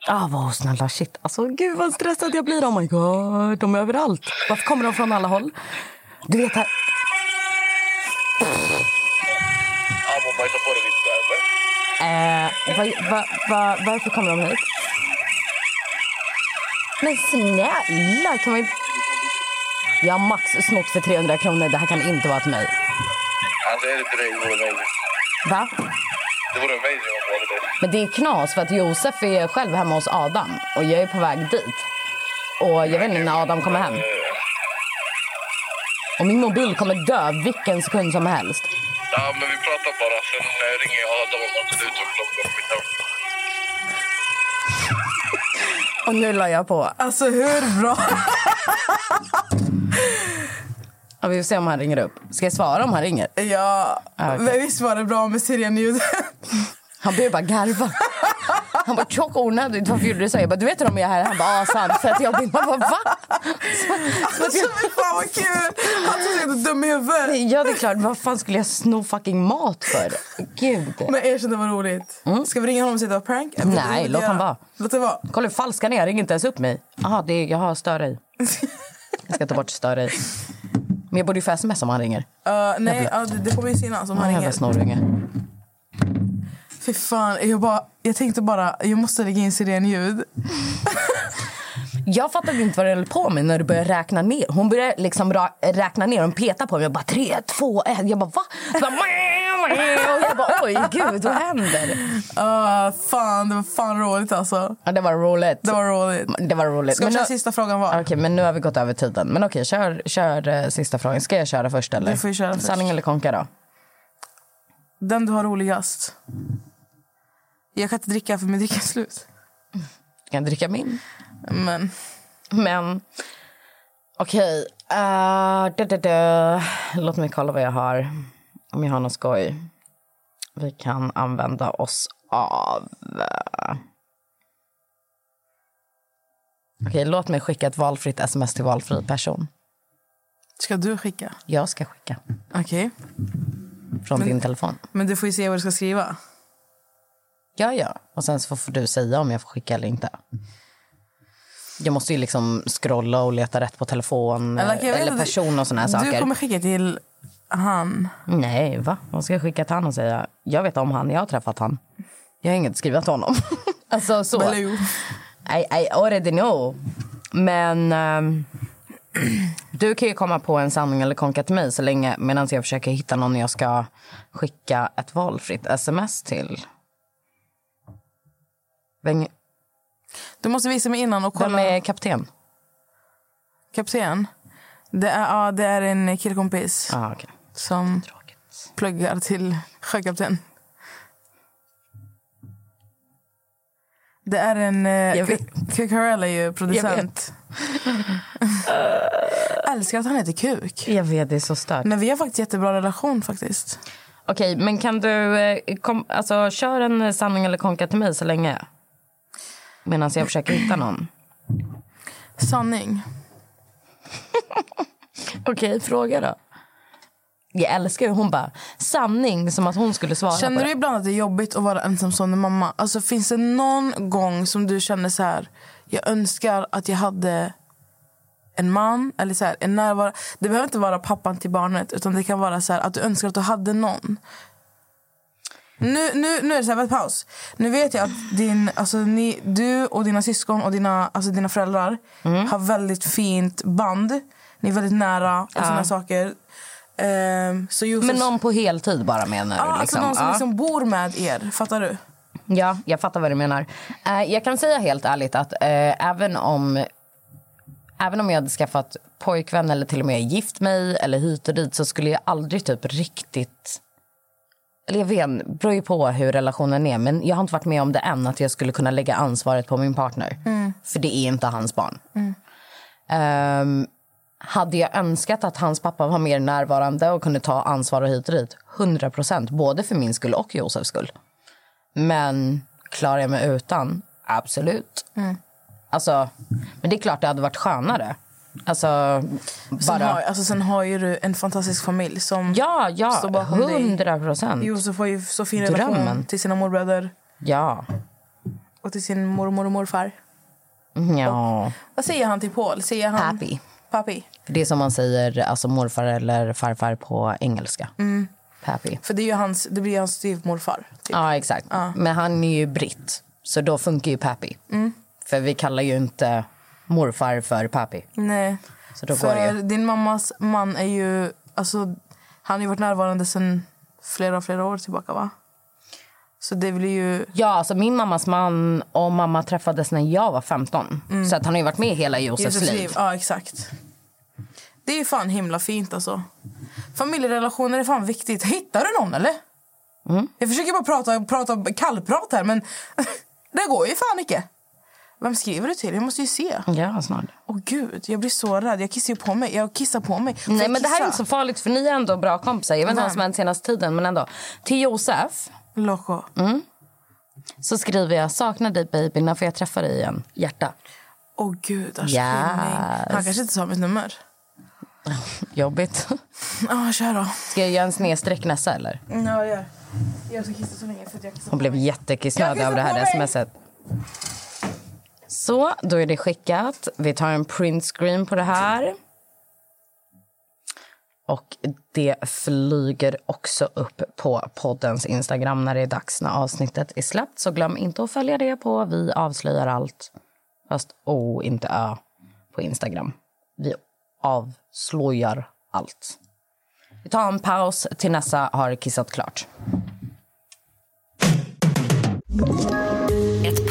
Speaker 2: Ah, vad snälla, shit. Alltså, gud vad stressad jag blir. Oh my god, de är överallt. Varför kommer de från alla håll? Du vet här...
Speaker 12: Ja, man bajsar på dig lite där, eller?
Speaker 2: Eh, va, va, va, varför kommer de hit? Men snälla, kan man Jag har max snott för 300 kronor. Det här kan inte vara till mig.
Speaker 12: Alltså, är det inte dig, det vore amazing.
Speaker 2: Va?
Speaker 12: Det vore amazing om det var dig.
Speaker 2: Men det är knas för att Josef är själv hemma hos Adam och jag är på väg dit. Och jag vet inte när Adam kommer hem. Och min mobil kommer dö vilken sekund som helst.
Speaker 12: Ja, men vi pratar bara. Sen eh, ringer jag Adam och säger ut och klockan på mitt hem.
Speaker 2: Och nu la jag på.
Speaker 3: Alltså hur bra?
Speaker 2: Ja, vi får se om han ringer upp. Ska jag svara om han ringer?
Speaker 3: Ja.
Speaker 2: Ah, okej.
Speaker 3: Men visst var det bra med Sirian-ljudet?
Speaker 2: Han började bara garva. Han bara, tjock onödigt, varför gjorde du så? Jag bara, du vet hur de är här? Han bara, ah sant. Så att jag blev bara, va?
Speaker 3: Alltså fy fan vad kul! Han trodde jag var dum i huvudet.
Speaker 2: Ja, det är klart. Vad fan skulle jag sno fucking mat för? Gud.
Speaker 3: Men erkänn det var roligt. Ska vi ringa honom och säga att det var prank? Jag vet inte
Speaker 2: Mm. Nej,
Speaker 3: vad
Speaker 2: låt
Speaker 3: jag-
Speaker 2: han vara.
Speaker 3: Låt det vara.
Speaker 2: Kolla hur falsk han är. Ring inte ens upp mig. Jaha, det är, jaha stör dig. Jag ska ta bort stör dig. Men jag borde ju få sms om han ringer.
Speaker 3: Uh, nej, ja, det, det kommer ju synas om han
Speaker 2: Jävla
Speaker 3: ringer.
Speaker 2: snorunge.
Speaker 3: Fy fan, jag, bara, jag tänkte bara, jag måste lägga in sirenljud.
Speaker 2: Jag fattade inte vad det höll på med när du började räkna ner. Hon började liksom ra- räkna ner. Hon petade på mig. Jag bara, tre, två, ett. Jag bara, va? Så bara, "Mäh, mäh." Och jag bara, oj gud, vad händer?
Speaker 3: Uh, fan, det var fan roligt alltså.
Speaker 2: Ja, det var roligt.
Speaker 3: Det var roligt.
Speaker 2: Det var roligt.
Speaker 3: Ska vi köra
Speaker 2: nu-
Speaker 3: sista frågan var?
Speaker 2: Ah, Okej, men nu har vi gått över tiden. Men okej, kör, kör eh, sista frågan. Ska jag köra först eller?
Speaker 3: Du får ju köra först.
Speaker 2: Sanning eller konka då?
Speaker 3: Den du har roligast. Jag kan inte dricka för min dricka är slut.
Speaker 2: Du kan dricka min.
Speaker 3: Men...
Speaker 2: Men... Okej. eh, dö, dö, dö. Låt mig kolla vad jag har. Om jag har något skoj. Vi kan använda oss av... eh, Okej, låt mig skicka ett valfritt sms till valfri person.
Speaker 3: Ska du skicka?
Speaker 2: Jag ska skicka
Speaker 3: Okej.
Speaker 2: från din telefon.
Speaker 3: Men du får ju se vad du ska skriva.
Speaker 2: Ja, ja. Och sen så får du säga om jag får skicka eller inte. Jag måste ju liksom scrolla och leta rätt på telefon eh,
Speaker 3: Eller, jag vet
Speaker 2: eller
Speaker 3: inte,
Speaker 2: person och såna här
Speaker 3: du
Speaker 2: saker.
Speaker 3: kommer skicka till han.
Speaker 2: Nej, va? Vad ska jag skicka till honom och säga? Jag vet om han, jag har träffat han. Jag har inget skrivit till honom. alltså så.
Speaker 3: Baloo.
Speaker 2: I, I already know. Men ehm, du kan ju komma på en sanning eller konka till mig så länge medan jag försöker hitta någon jag ska skicka ett valfritt sms till. Vem,
Speaker 3: Du måste visa mig innan och kolla.
Speaker 2: vem är kapten?
Speaker 3: Kapten. Det är, ja, det är en killkompis
Speaker 2: Ah, okay.
Speaker 3: som pluggar till sjökapten. Det är en...
Speaker 2: Jag
Speaker 3: Eh,
Speaker 2: vet.
Speaker 3: K- Kuk Harrell är ju producent. Älskar att han heter Kuk.
Speaker 2: Jag vet, det är så stört.
Speaker 3: Men vi har faktiskt jättebra relation faktiskt.
Speaker 2: Okej, men kan du... eh, Kom, alltså, kör en sanning eller konka till mig så länge. Medan jag försöker hitta någon.
Speaker 3: Sanning.
Speaker 2: Okej, fråga då. Jag älskar hur hon bara... Sanning, som att hon skulle svara
Speaker 3: Känner
Speaker 2: på
Speaker 3: du
Speaker 2: det.
Speaker 3: ibland att det är jobbigt att vara ensamstående mamma? Alltså finns det någon gång som du känner så här, jag önskar att jag hade en man eller så här, en närvaro. Det behöver inte vara pappan till barnet utan det kan vara så här att du önskar att du hade någon. Nu, nu, nu är det så här, vänta, paus. Nu vet jag att din, alltså, ni, du och dina syskon och dina, alltså, dina föräldrar har väldigt fint band. Ni är väldigt nära och såna här saker. Ehm, så Josef,
Speaker 2: Men någon på heltid bara menar du?
Speaker 3: Ja, alltså någon som
Speaker 2: Ja.
Speaker 3: liksom bor med er. Fattar du?
Speaker 2: Ja, jag fattar vad du menar. Eh, jag kan säga helt ärligt att eh, även om Även om jag hade skaffat pojkvän eller till och med gift mig eller hit och dit så skulle jag aldrig typ riktigt... Eller jag vet, det beror ju på hur relationen är. Men jag har inte varit med om det än att jag skulle kunna lägga ansvaret på min partner.
Speaker 1: Mm.
Speaker 2: För det är inte hans barn.
Speaker 3: Mm.
Speaker 2: Ehm, hade jag önskat att hans pappa var mer närvarande och kunde ta ansvar och hit och dit? 100 procent, både för min skull och Josefs skull. Men klarar jag mig utan? Absolut.
Speaker 3: Mm.
Speaker 2: Alltså, men det är klart det hade varit skönare. Alltså,
Speaker 3: Sen,
Speaker 2: bara...
Speaker 3: har, alltså, sen har ju du en fantastisk familj som
Speaker 2: Ja, ja,
Speaker 3: står bakom
Speaker 2: hundra
Speaker 3: dig.
Speaker 2: procent.
Speaker 3: Josef har ju så fin relation
Speaker 2: Drömmen.
Speaker 3: till sina morbröder
Speaker 2: Ja.
Speaker 3: och till sin mormor och morfar.
Speaker 2: Mm, ja.
Speaker 3: Vad säger han till Paul? Säger han... Papi. Papi.
Speaker 2: För det är som man säger alltså morfar eller farfar på engelska.
Speaker 3: Mm.
Speaker 2: Pappy.
Speaker 3: För det, är ju hans, det blir ju hans styvmorfar. typ.
Speaker 2: Ja, exakt. Men han är ju britt, så då funkar ju pappy.
Speaker 3: Mm.
Speaker 2: För vi kallar ju inte morfar för pappy.
Speaker 3: Nej.
Speaker 2: Så då går det
Speaker 3: För
Speaker 2: ju.
Speaker 3: din mammas man är ju... Alltså, han har ju varit närvarande sedan flera, flera år tillbaka, va? Så det blir ju...
Speaker 2: Ja, alltså min mammas man och mamma träffades när jag var 15.
Speaker 3: Mm.
Speaker 2: Så att han har ju varit med hela Josefs liv.
Speaker 3: Ja, exakt. Det är ju fan himla fint, alltså. Familjerelationer är fan viktigt. Hittar du någon, eller?
Speaker 2: Mm.
Speaker 3: Jag försöker bara prata, prata kallprat här, men det går ju fan inte. Vem skriver du till? Jag måste ju se.
Speaker 2: Ja, snart.
Speaker 3: Åh gud, jag blir så rädd. Jag kissar ju på mig. Jag kissar på mig. Får
Speaker 2: Nej,
Speaker 3: jag
Speaker 2: men det här är
Speaker 3: kissa?
Speaker 2: inte så farligt för ni är ändå bra kompisar. Jag vet inte vad som
Speaker 3: Vem?
Speaker 2: hänt senaste tiden, men ändå. Till Josef.
Speaker 3: Loco.
Speaker 2: Mm. Så skriver jag, saknar dig baby, när får jag träffa dig igen? Hjärta.
Speaker 3: Åh gud, alltså, Ars
Speaker 2: Yes.
Speaker 3: Han kanske inte sa mitt nummer.
Speaker 2: Jobbigt.
Speaker 3: Ja, kör då.
Speaker 2: Ska jag göra en snedstreck nästa eller?
Speaker 3: Ja, gör. Jag ska kissa så länge för att jag kissar
Speaker 2: Hon blev
Speaker 3: Jag
Speaker 2: jättekissnödig
Speaker 3: kissar
Speaker 2: av det
Speaker 3: på
Speaker 2: här
Speaker 3: mig.
Speaker 2: smset. Så, då är det skickat. Vi tar en printscreen på det här. Och det flyger också upp på poddens Instagram när det är dags när avsnittet är släppt. Så glöm inte att följa det på Vi avslöjar allt. Fast O, inte Ö, på Instagram. Vi avslöjar allt. Vi tar en paus till Nessa har kissat klart.
Speaker 8: Ett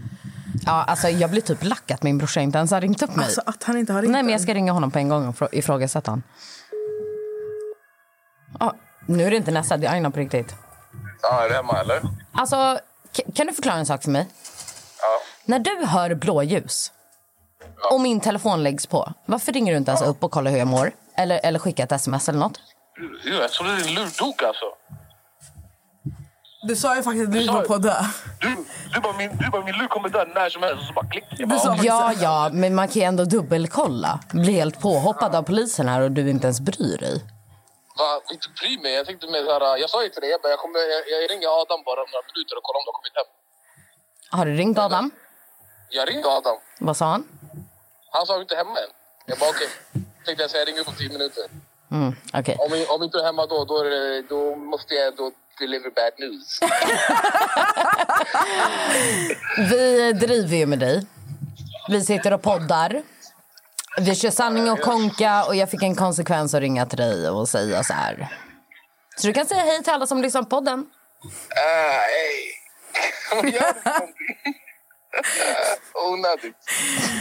Speaker 2: Ja, alltså, jag blir typ lack att min brorsa inte ens har ringt upp mig.
Speaker 3: Alltså, att han inte har ringt
Speaker 2: Nej, men jag ska ringa honom på en gång och frå- ifrågasätta honom. Ja, nu är det inte nästa, det är Aina på riktigt.
Speaker 12: Ja, är du hemma eller?
Speaker 2: Alltså, k- kan du förklara en sak för mig?
Speaker 12: Ja.
Speaker 2: När du hör blåljus och min telefon läggs på, varför ringer du inte ens upp och kollar hur jag mår? Eller, eller skickar ett sms eller något?
Speaker 12: Du, jag trodde din lur dog alltså.
Speaker 3: Du sa ju faktiskt att du var på att dö.
Speaker 12: Du, du, bara, min, du bara, min lur kommer dö när som helst. Och så bara klick.
Speaker 3: er
Speaker 12: Jag bara,
Speaker 2: Ja, ja, men man kan ju ändå dubbelkolla. Bli helt påhoppad av polisen här och du inte ens bryr dig.
Speaker 12: Va, inte bry mig. Jag tänkte mer såhär, jag sa ju till dig, jag, bara, jag, kommer, jag, jag ringer Adam bara om några minuter och kollar om du har kommit hem.
Speaker 2: Har du ringt Adam?
Speaker 12: Jag ringde Adam.
Speaker 2: Vad sa han?
Speaker 12: Han sa "Är du inte hemma än. Jag bara okej. Tänkte jag säga, jag ringer upp om tio minuter.
Speaker 2: Mm, okej.
Speaker 12: Om, om inte du är hemma då, då, är det, då måste jag då deliver bad news.
Speaker 2: Vi driver ju med dig. Vi sitter och poddar. Vi kör sanning och konka och jag fick en konsekvens att ringa till dig och säga så här. Så du kan säga hej till alla som lyssnar på podden.
Speaker 12: Ah, hej! Vad gör du för någonting? Onödigt.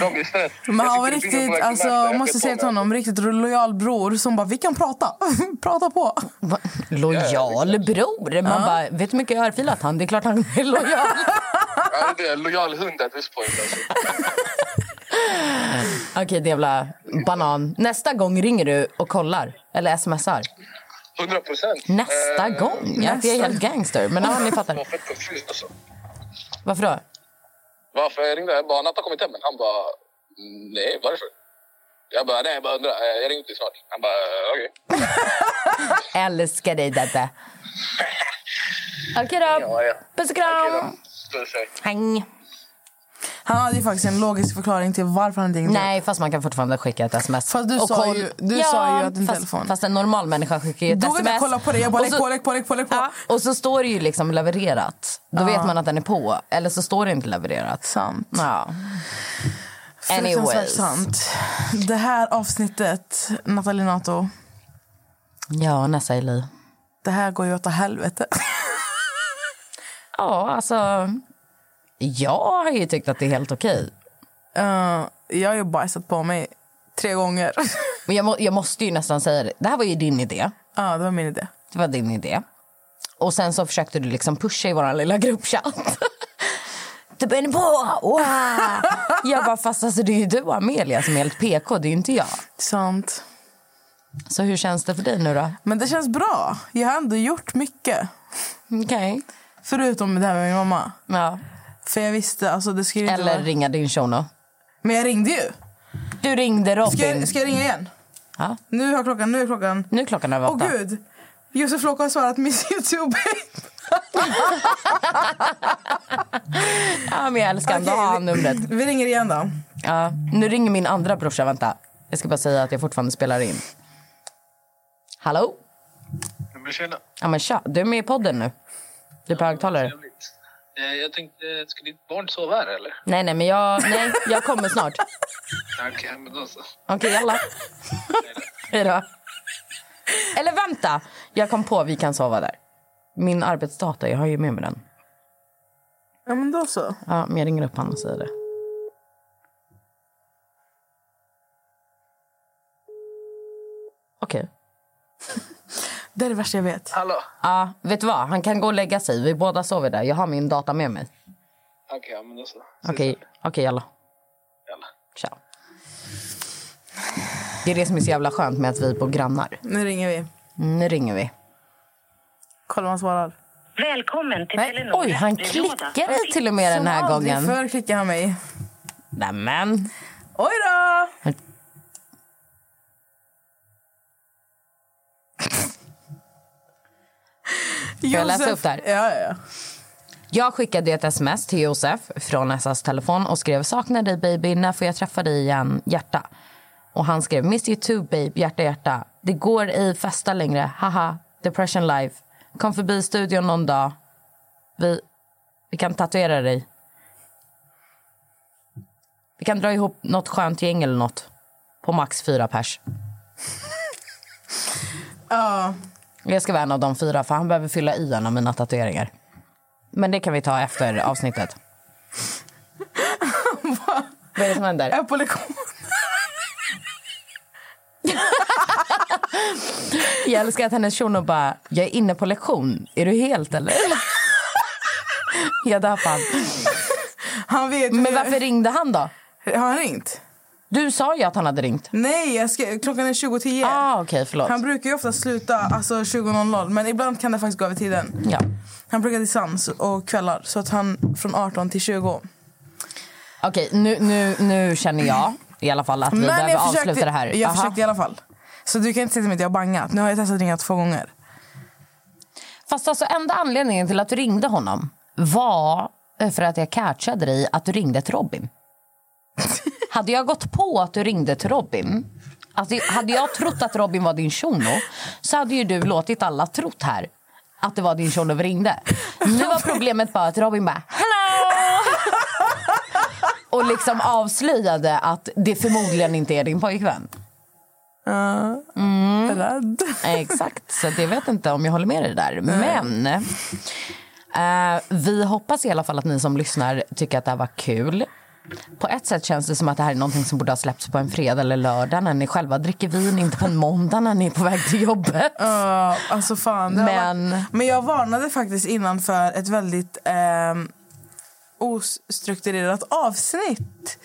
Speaker 12: De blir stress.
Speaker 3: Men han var
Speaker 12: Jag tycker det
Speaker 3: riktigt,
Speaker 12: blir
Speaker 3: alltså,
Speaker 12: någon
Speaker 3: jag
Speaker 12: märkta,
Speaker 3: måste
Speaker 12: jag
Speaker 3: säga
Speaker 12: vet
Speaker 3: till
Speaker 12: om det.
Speaker 3: honom, riktigt lojal bror som bara, vi kan prata. prata på.
Speaker 2: Lojal bror. Man
Speaker 3: Ja.
Speaker 2: bara, vet du hur mycket jag har örfilat han? Det är klart han är lojal.
Speaker 12: Ja, det är en lojal hund at this point. Alltså.
Speaker 2: Okej, det jävla banan. Nästa gång ringer du och kollar. Eller smsar.
Speaker 12: 100 procent.
Speaker 2: Eh, Nästa
Speaker 13: Eh,
Speaker 2: gång? Ja, det är helt gangster. Men ja, ni fattar.
Speaker 12: Jag var fett confused alltså.
Speaker 2: Varför då?
Speaker 12: Varför jag ringde? Jag bara, Natta har kommit hem än. Han bara, "Mm, nej, varför? Jag bara, nej, jag bara undrar. Eh, Jag ringer upp dig snart. Han bara, eh, okej.
Speaker 2: Älskar dig detta. Okej då. Puss och kram.
Speaker 12: Puss, hej.
Speaker 2: Häng.
Speaker 3: Han hade ju faktiskt en logisk förklaring till varför han ringde.
Speaker 2: Nej, fast man kan fortfarande skicka ett sms.
Speaker 3: Fast du
Speaker 2: Och
Speaker 3: sa
Speaker 2: koll-
Speaker 3: ju- du
Speaker 2: ja,
Speaker 3: sa ju att din
Speaker 2: fast,
Speaker 3: telefon-
Speaker 2: Fast en normal människa skickar ju ett
Speaker 3: Då vill
Speaker 2: sms.
Speaker 3: jag kolla på det. Jag bara,
Speaker 2: alltså, Och så-
Speaker 3: lägg på, lägg på, lägg på, lägg på.
Speaker 2: Ja, och så står det ju liksom levererat. Då
Speaker 3: Ja.
Speaker 2: vet man att den är på. Eller så står det inte levererat.
Speaker 3: Sant.
Speaker 2: Ja.
Speaker 3: Fruktansvärt
Speaker 2: Anyways.
Speaker 3: sant. Det här avsnittet, Nathalie Nato,
Speaker 2: Ja, Nessa Eli.
Speaker 3: det här går ju åt helvete.
Speaker 2: Ja, alltså... Jag har ju tyckt att det är helt okej.
Speaker 3: Eh, jag har ju bajsat på mig tre gånger.
Speaker 2: Men jag, må, jag måste ju nästan säga det. Det här var ju din idé.
Speaker 3: Ja, det var min idé.
Speaker 2: Det var din idé. Och sen så försökte du liksom pusha i vår lilla gruppchatt. Typ, är ni på? Wow. Jag bara, fast alltså, det är ju du Amelia som är helt PK, det är ju inte jag.
Speaker 3: Sant.
Speaker 2: Så hur känns det för dig nu då?
Speaker 3: Men det känns bra. Jag har ändå gjort mycket.
Speaker 2: Okej.
Speaker 3: Förutom det här med min mamma.
Speaker 2: Ja.
Speaker 3: För jag visste, alltså det skulle inte
Speaker 2: Eller
Speaker 3: vara...
Speaker 2: ringa din shono.
Speaker 3: Men jag ringde ju.
Speaker 2: Du ringde Robin.
Speaker 3: Ska jag, ska jag ringa igen?
Speaker 2: Ja.
Speaker 3: Nu har klockan, nu är klockan.
Speaker 2: Nu är klockan över
Speaker 3: Åh
Speaker 2: åtta.
Speaker 3: gud! Josef Loco har svarat miss youtube.
Speaker 2: Ja, men jag älskar honom. Då har han numret.
Speaker 3: Vi ringer igen då.
Speaker 2: Ja. Nu ringer min andra brorsa. Vänta. Jag ska bara säga att jag fortfarande spelar in. Hallå?
Speaker 13: Men tjena.
Speaker 2: Ja, men tja. Du är med i podden nu. Du är på högtalare.
Speaker 13: Eh, Jag tänkte, eh, ska ditt barn sova här eller?
Speaker 2: Nej, nej, men jag, nej, jag kommer snart.
Speaker 13: Okej, men då så.
Speaker 2: Okej, jalla. Hej då. Eller vänta! Jag kom på vi kan sova där. Min arbetsdata, jag har ju med mig den.
Speaker 3: Ja men då så.
Speaker 2: Ja, men jag ringer upp honom och säger det. Okej.
Speaker 3: Det är det värsta jag vet.
Speaker 13: Hallå?
Speaker 2: Ja, vet du vad? Han kan gå och lägga sig. Vi båda sover där. Jag har min data med mig.
Speaker 13: Okej, ja, men då så.
Speaker 2: Okej, okej jalla.
Speaker 13: Jalla.
Speaker 2: Ciao. Det är det som är så jävla skönt med att vi är på grannar.
Speaker 3: Nu ringer vi.
Speaker 2: Nu ringer vi.
Speaker 3: Kolla om han svarar.
Speaker 5: Välkommen till Telenor.
Speaker 2: Oj, han klickade till och med den här
Speaker 3: Som aldrig
Speaker 2: gången.
Speaker 3: förr klickar han mig.
Speaker 2: Nämen.
Speaker 3: Oj då!
Speaker 2: Får jag läsa upp det här?
Speaker 3: Ja, ja, ja.
Speaker 2: Jag skickade ett sms till Josef från Nessas telefon och skrev saknar dig baby, när får jag träffa dig igen? Hjärta. Och han skrev miss you too babe, hjärta hjärta. Det går ej festa längre, haha, depression life. Kom förbi studion någon dag. Vi, vi kan tatuera dig. Vi kan dra ihop något skönt gäng eller något. På max fyra pers.
Speaker 3: Ja.
Speaker 2: Jag ska vara en av de fyra för han behöver fylla i en av mina tatueringar. Men det kan vi ta efter avsnittet. Vad är det som händer?
Speaker 3: Apple kom.
Speaker 2: Jag älskar att hennes shuno bara, jag är inne på lektion. Är du helt eller? jag dör fan.
Speaker 3: Han vet
Speaker 2: Men varför ringde han då?
Speaker 3: Har han ringt?
Speaker 2: Du sa ju att han hade ringt.
Speaker 3: Nej, jag ska, klockan är 20.10.
Speaker 2: Ah, okej, förlåt.
Speaker 3: Han brukar ju ofta sluta alltså 20.00 men ibland kan det faktiskt gå över tiden.
Speaker 2: Ja.
Speaker 3: Han brukar till sans och kvällar så att han från 18 till 20.
Speaker 2: Okej, nu, nu, nu känner jag i alla fall att vi
Speaker 3: Men
Speaker 2: behöver
Speaker 3: jag
Speaker 2: avsluta det här.
Speaker 3: Jag
Speaker 2: Aha.
Speaker 3: försökte i alla fall. Så du kan inte säga till mig att jag har bangat. Nu har jag testat ringa två gånger.
Speaker 2: Fast alltså enda anledningen till att du ringde honom var för att jag catchade dig att du ringde till Robin. hade jag gått på att du ringde till Robin, alltså, hade jag trott att Robin var din shuno så hade ju du låtit alla trott här att det var din shuno vi ringde. Nu var problemet bara att Robin bara “hello” och liksom avslöjade att det förmodligen inte är din pojkvän.
Speaker 3: Ja.
Speaker 2: Mm.
Speaker 3: Rädd.
Speaker 2: Exakt, så att jag vet inte om jag håller med dig där. Men eh, vi hoppas i alla fall att ni som lyssnar tycker att det här var kul. På ett sätt känns det som att det här är någonting som borde ha släppts på en fredag eller lördag när ni själva dricker vin, inte på en måndag när ni är på väg till jobbet.
Speaker 3: Ja, alltså fan. Det har Varit, men jag varnade faktiskt innan för ett väldigt ehm, ostrukturerat avsnitt.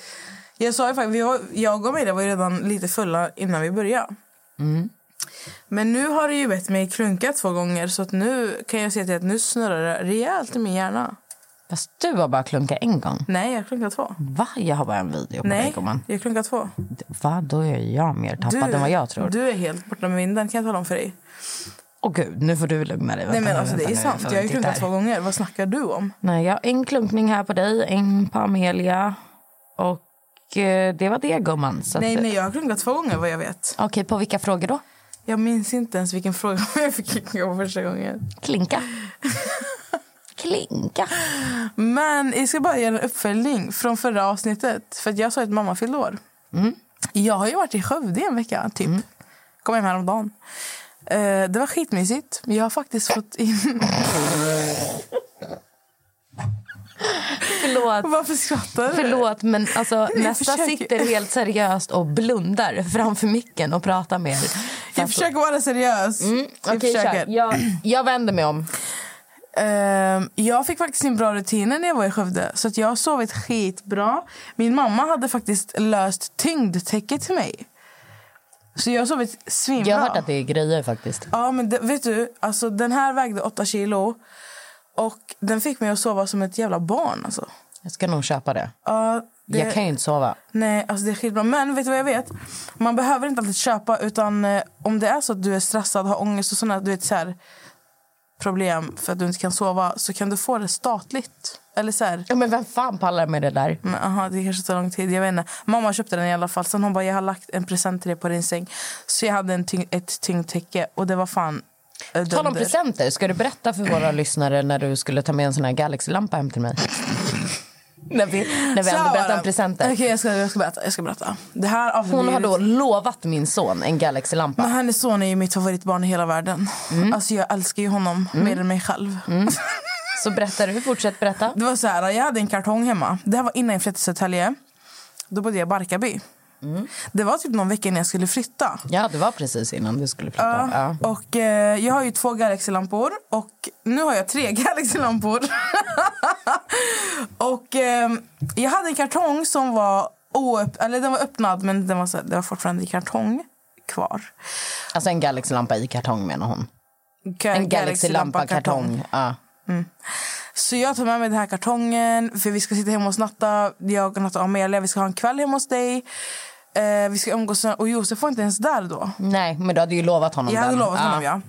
Speaker 3: Jag sa ju faktiskt, vi var, jag och Maria var ju redan lite fulla innan vi började.
Speaker 2: Mm.
Speaker 3: Men nu har det ju bett mig klunka två gånger så att nu kan jag se till att nu snurrar det rejält i min hjärna.
Speaker 2: Fast du har bara klunkat en gång.
Speaker 3: Nej, jag klunkar två.
Speaker 2: Va? Jag har bara en video på dig
Speaker 3: Nej,
Speaker 2: gumman.
Speaker 3: jag klunkar två.
Speaker 2: Va? Då är jag mer tappad än vad jag tror.
Speaker 3: Du är helt borta med vinden kan jag tala om för dig.
Speaker 2: Åh gud, nu får du lugna dig.
Speaker 3: Nej
Speaker 2: Vänta
Speaker 3: men
Speaker 2: nu,
Speaker 3: alltså det
Speaker 2: vänta
Speaker 3: är
Speaker 2: nu,
Speaker 3: sant.
Speaker 2: får
Speaker 3: Jag har ju
Speaker 2: titta
Speaker 3: klunkat
Speaker 2: här.
Speaker 3: två gånger. Vad snackar du om?
Speaker 2: Nej, jag har en klunkning här på dig, en på Amelia Och eh, det var det gumman. Så att- eh,
Speaker 3: Nej, nej, jag har krånglat två gånger vad jag vet.
Speaker 2: Okej, på vilka frågor då?
Speaker 3: Jag minns inte ens vilken fråga jag fick klinka på första gången.
Speaker 2: Klinka. Klinka.
Speaker 3: Men jag ska bara göra en uppföljning från förra avsnittet. För att jag sa att mamma fyllde år.
Speaker 2: Mm.
Speaker 3: Jag har ju varit i Skövde i en vecka, typ. Kom hem häromdagen. Eh, det var skitmysigt. Jag har faktiskt fått in...
Speaker 2: Förlåt.
Speaker 3: Varför skrattar du?
Speaker 2: Förlåt, men alltså,
Speaker 3: Jag
Speaker 2: nästa
Speaker 3: försöker.
Speaker 2: sitter helt seriöst och blundar framför micken och pratar med er.
Speaker 3: Jag försöker vara seriös. Mm,
Speaker 2: Alltså. okej, kör. Jag- vänder mig om.
Speaker 3: Ehm, jag fick faktiskt en bra rutin när jag var i Skövde. Så att jag har sovit skitbra. Min mamma hade faktiskt löst tyngdtäcket till mig. Så jag har sovit svinbra.
Speaker 2: Jag har hört att det är grejer faktiskt.
Speaker 3: Ja, men det, vet du, alltså, den här vägde 8 kilo. Och den fick mig att sova som ett jävla barn. Alltså.
Speaker 2: Jag ska nog köpa det.
Speaker 3: Ja, det-
Speaker 2: Jag kan ju inte sova.
Speaker 3: Nej, alltså det är skitbra. Men vet du vad jag vet? Man behöver inte alltid köpa. Utan eh, om det är så att du är stressad, har ångest och sådana du vet, så här, problem för att du inte kan sova så kan du få det statligt. Eller så här.
Speaker 2: Ja, men vem fan pallar med det där?
Speaker 3: Men, aha, det kanske tar lång tid. Jag vet inte. Mamma köpte den i alla fall. Sen hon bara, jag har lagt en present till dig på din säng. Så jag hade en tyng- ett tyngdtäcke och det var fan eh,
Speaker 2: Tala om
Speaker 3: dunder.
Speaker 2: presenter. Ska du berätta för våra lyssnare när du skulle ta med en sån här Galaxy-lampa hem till mig? när vi, när vi
Speaker 3: Så
Speaker 2: ändå
Speaker 3: här var
Speaker 2: berättar
Speaker 3: det.
Speaker 2: om presenter.
Speaker 3: Okej, jag, ska, jag ska berätta. Jag ska berätta. Det här
Speaker 2: Hon har
Speaker 3: avblir-
Speaker 2: då lovat min son en Galaxy-lampa.
Speaker 3: Men hennes son är ju mitt favoritbarn i hela världen.
Speaker 2: Mm.
Speaker 3: Alltså jag älskar ju honom mer än mig själv.
Speaker 2: Så berättar du, fortsätt berätta.
Speaker 3: Det var så här, jag hade en kartong hemma. Det här var innan jag flyttade till Södertälje. Då bodde jag i Barkarby.
Speaker 2: Mm.
Speaker 3: Det var typ någon vecka innan jag skulle flytta.
Speaker 2: Ja, det var precis innan du skulle flytta. Ja.
Speaker 3: Och eh, jag har ju två Galaxy-lampor och nu har jag tre Galaxy-lampor. och eh, jag hade en kartong som var oöpp- eller den var öppnad men den var, så, den var fortfarande i kartong kvar.
Speaker 2: Alltså en Galaxy-lampa i kartong menar hon.
Speaker 3: Ga-
Speaker 2: en Galaxy-lampa
Speaker 3: Galaxy-lampa-kartong.
Speaker 2: kartong. Ja.
Speaker 3: Så jag tar med mig den här kartongen för vi ska sitta hemma hos Natta. Jag och Natta och Amelia, vi ska ha en kväll hemma hos dig. Eh, vi ska umgås och Josef var inte ens där då.
Speaker 2: Nej, men ah. du hade ju lovat honom
Speaker 3: Jag hade
Speaker 2: den.
Speaker 3: lovat honom, ja.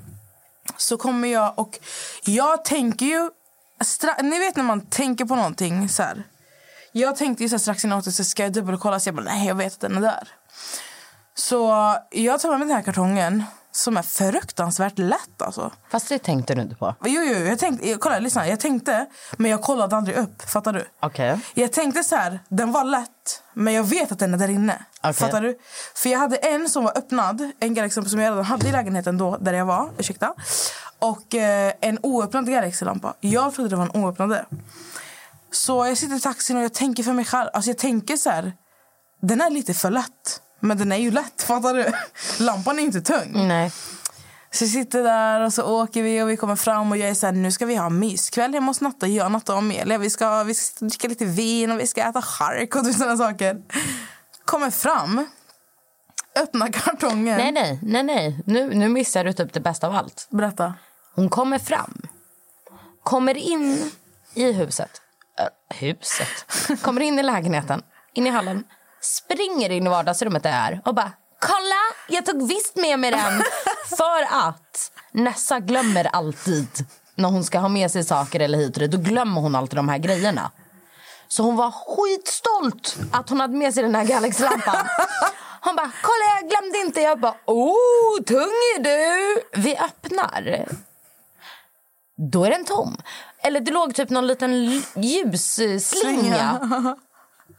Speaker 3: Så kommer jag och jag tänker ju... Stra- Ni vet när man tänker på någonting så här. Jag tänkte ju så här strax innan åt så ska jag dubbelkolla så jag bara nej jag vet att den är där. Så jag tar med mig den här kartongen som är fruktansvärt lätt alltså.
Speaker 2: Fast det tänkte du inte på.
Speaker 3: Jo, jo, jag tänkte, jag, kolla, lyssna, jag tänkte, men jag kollade aldrig upp. Fattar du?
Speaker 2: Okej.
Speaker 3: Jag tänkte så här, den var lätt, men jag vet att den är där inne.
Speaker 2: Okej.
Speaker 3: Fattar du? För jag hade en som var öppnad, en Galaxy-lampa som jag redan hade i lägenheten då, där jag var, ursäkta. Och eh, en oöppnad Galaxy-lampa. Jag trodde det var en oöppnade. Så jag sitter i taxin och jag tänker för mig själv, alltså jag tänker så här, den är lite för lätt. Men den är ju lätt, fattar du? Lampan är ju inte tung.
Speaker 2: Nej.
Speaker 3: Så vi sitter där och så åker vi och vi kommer fram och jag är så här, nu ska vi ha en myskväll hemma hos Natta, jag, Natta och Amelia. Vi ska, vi ska dricka lite vin och vi ska äta chark och sådana saker. Kommer fram, öppnar kartongen.
Speaker 2: Nej, nej, nej, nej. Nu, nu missar du typ det bästa av allt.
Speaker 3: Berätta.
Speaker 2: Hon kommer fram. Kommer in i huset. Ö, huset? Kommer in i lägenheten, in i hallen. Springer in i vardagsrummet där jag är och bara Kolla! Jag tog visst med mig den! För att Nessa glömmer alltid när hon ska ha med sig saker eller hit och dit. Då glömmer hon alltid de här grejerna. Så hon var skitstolt att hon hade med sig den här Galaxy-lampan. Hon bara, kolla jag glömde inte. Jag bara, oh, tung är du. Vi öppnar. Då är den tom. Eller det låg typ någon liten l- ljusslinga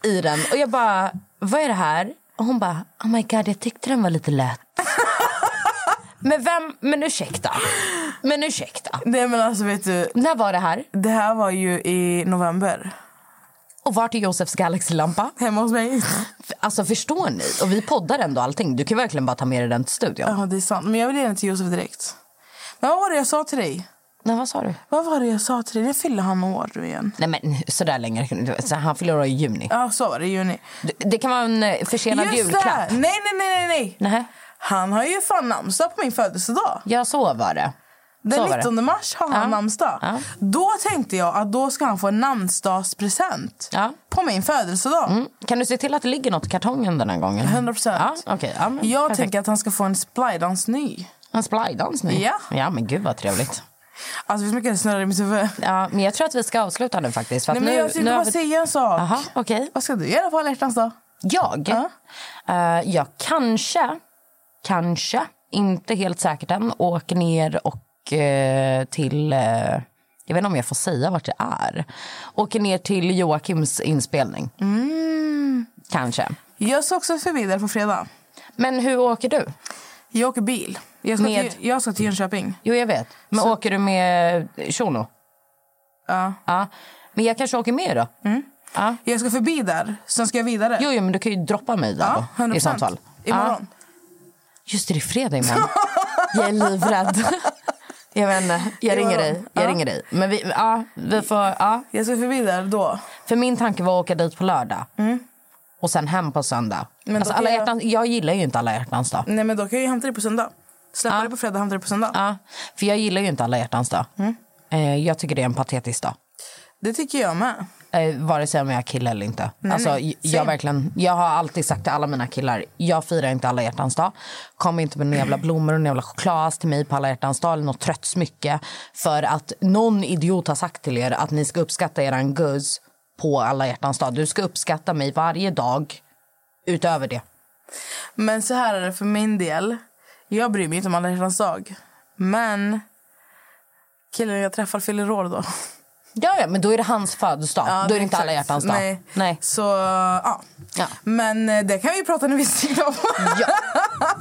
Speaker 2: i den. Och jag bara, vad är det här? Och hon bara, oh my god, jag tyckte den var lite lätt. men vem, men ursäkta. Men ursäkta.
Speaker 3: Nej men alltså vet du.
Speaker 2: När var det här?
Speaker 3: Det här var ju i november.
Speaker 2: Och vart är Josefs Galaxy-lampa?
Speaker 3: Hemma hos mig.
Speaker 2: Alltså förstår ni? Och vi poddar ändå allting. Du kan verkligen bara ta med dig den till studion.
Speaker 3: Ja, det är sant. Men jag vill ge den till Josef direkt. Men vad var det jag sa till dig?
Speaker 2: Nej, vad sa du?
Speaker 3: Vad var det jag sa till dig? Nu fyller han år nu igen.
Speaker 2: Nej men sådär länge kan du inte- så Han fyller år i juni.
Speaker 3: Ja, så var det i juni.
Speaker 2: Det, det kan vara en eh, försenad
Speaker 3: Just
Speaker 2: julklapp.
Speaker 3: det! Nej, nej, nej, nej, nej.
Speaker 2: Nähä.
Speaker 3: Han har ju fan namnsdag på min födelsedag.
Speaker 2: Ja, så var det. Så
Speaker 3: Den
Speaker 2: var det.
Speaker 3: 19 mars har han namnsdag. Då tänkte jag att då ska han få en namnsdagspresent på min födelsedag.
Speaker 2: Kan du se till att det ligger något i kartongen den här gången?
Speaker 3: 100 procent.
Speaker 2: Ja, okay. ja, men
Speaker 3: jag
Speaker 2: perfekt.
Speaker 3: tänker att han ska få en splydans ny.
Speaker 2: En splydans nu?
Speaker 3: Ja.
Speaker 2: Ja men gud vad trevligt.
Speaker 3: Alltså det är så mycket snurrar i mitt huvud.
Speaker 2: Ja, men jag tror att vi ska avsluta nu faktiskt. För att
Speaker 3: Nej, men
Speaker 2: nu,
Speaker 3: jag tänkte
Speaker 2: nu har
Speaker 3: bara
Speaker 2: vi-
Speaker 3: säga en sak.
Speaker 2: Aha, okej.
Speaker 3: Vad ska du göra på alla hjärtans dag?
Speaker 2: Jag? Eh, jag kanske, kanske, inte helt säkert än, åker ner och eh, till... eh, jag vet inte om jag får säga vart det är. Åker ner till Joakims inspelning. Kanske.
Speaker 3: Jag ska också förbi där på fredag.
Speaker 2: Men hur åker du?
Speaker 3: Jag åker bil. Jag ska,
Speaker 2: Med-
Speaker 3: till, jag ska till Jönköping.
Speaker 2: Jo, jag vet. Men åker du med Shono?
Speaker 3: Ja.
Speaker 2: ja. Men jag kanske åker med då? Ja.
Speaker 3: Jag ska förbi där, sen ska jag vidare.
Speaker 2: Jo, jo men du kan ju droppa mig där
Speaker 3: Ja,
Speaker 2: då,
Speaker 3: 100%.
Speaker 2: i sånt fall.
Speaker 3: Imorgon.
Speaker 2: Ja. Just det, det är fredag imorgon. jag är livrädd. jag vet inte, jag ringer dig. Jag ringer dig. Men vi, ja, vi får, ja.
Speaker 3: Jag ska förbi där då.
Speaker 2: För min tanke var att åka dit på lördag. Och sen hem på söndag.
Speaker 3: Mm. Men då
Speaker 2: alltså,
Speaker 3: kan
Speaker 2: alla
Speaker 3: jag- Mm.
Speaker 2: hjärtans, jag gillar ju inte alla hjärtans dag.
Speaker 3: Nej men då kan jag ju hämta dig på söndag. Släppa dig på fredag, hämta dig på söndag.
Speaker 2: Ja, för jag gillar ju inte alla hjärtans dag.
Speaker 3: Mm.
Speaker 2: Eh, jag tycker det är en patetisk dag.
Speaker 3: Det tycker jag med.
Speaker 2: Eh, vare sig om jag är kille eller inte.
Speaker 3: Nej,
Speaker 2: alltså,
Speaker 3: nej,
Speaker 2: j-
Speaker 3: same.
Speaker 2: jag, verkligen, jag har alltid sagt till alla mina killar, jag firar inte alla hjärtans dag. Kom inte med några jävla blommor och några jävla chokladass till mig på alla hjärtans dag eller något trött smycke. För att någon idiot har sagt till er att ni ska uppskatta eran guzz på alla hjärtans dag. Du ska uppskatta mig varje dag utöver det.
Speaker 3: Men så här är det för min del. Jag bryr mig inte om alla hjärtans dag. Men killen jag träffar fyller år då.
Speaker 2: Ja, ja, men då är det hans födelsedag.
Speaker 3: Ja,
Speaker 2: då är
Speaker 3: men
Speaker 2: det inte alla
Speaker 3: exakt.
Speaker 2: hjärtans dag.
Speaker 3: Nej.
Speaker 2: Nej.
Speaker 3: Så, ja. Men eh, det kan vi prata när vi stiger om.
Speaker 2: ja.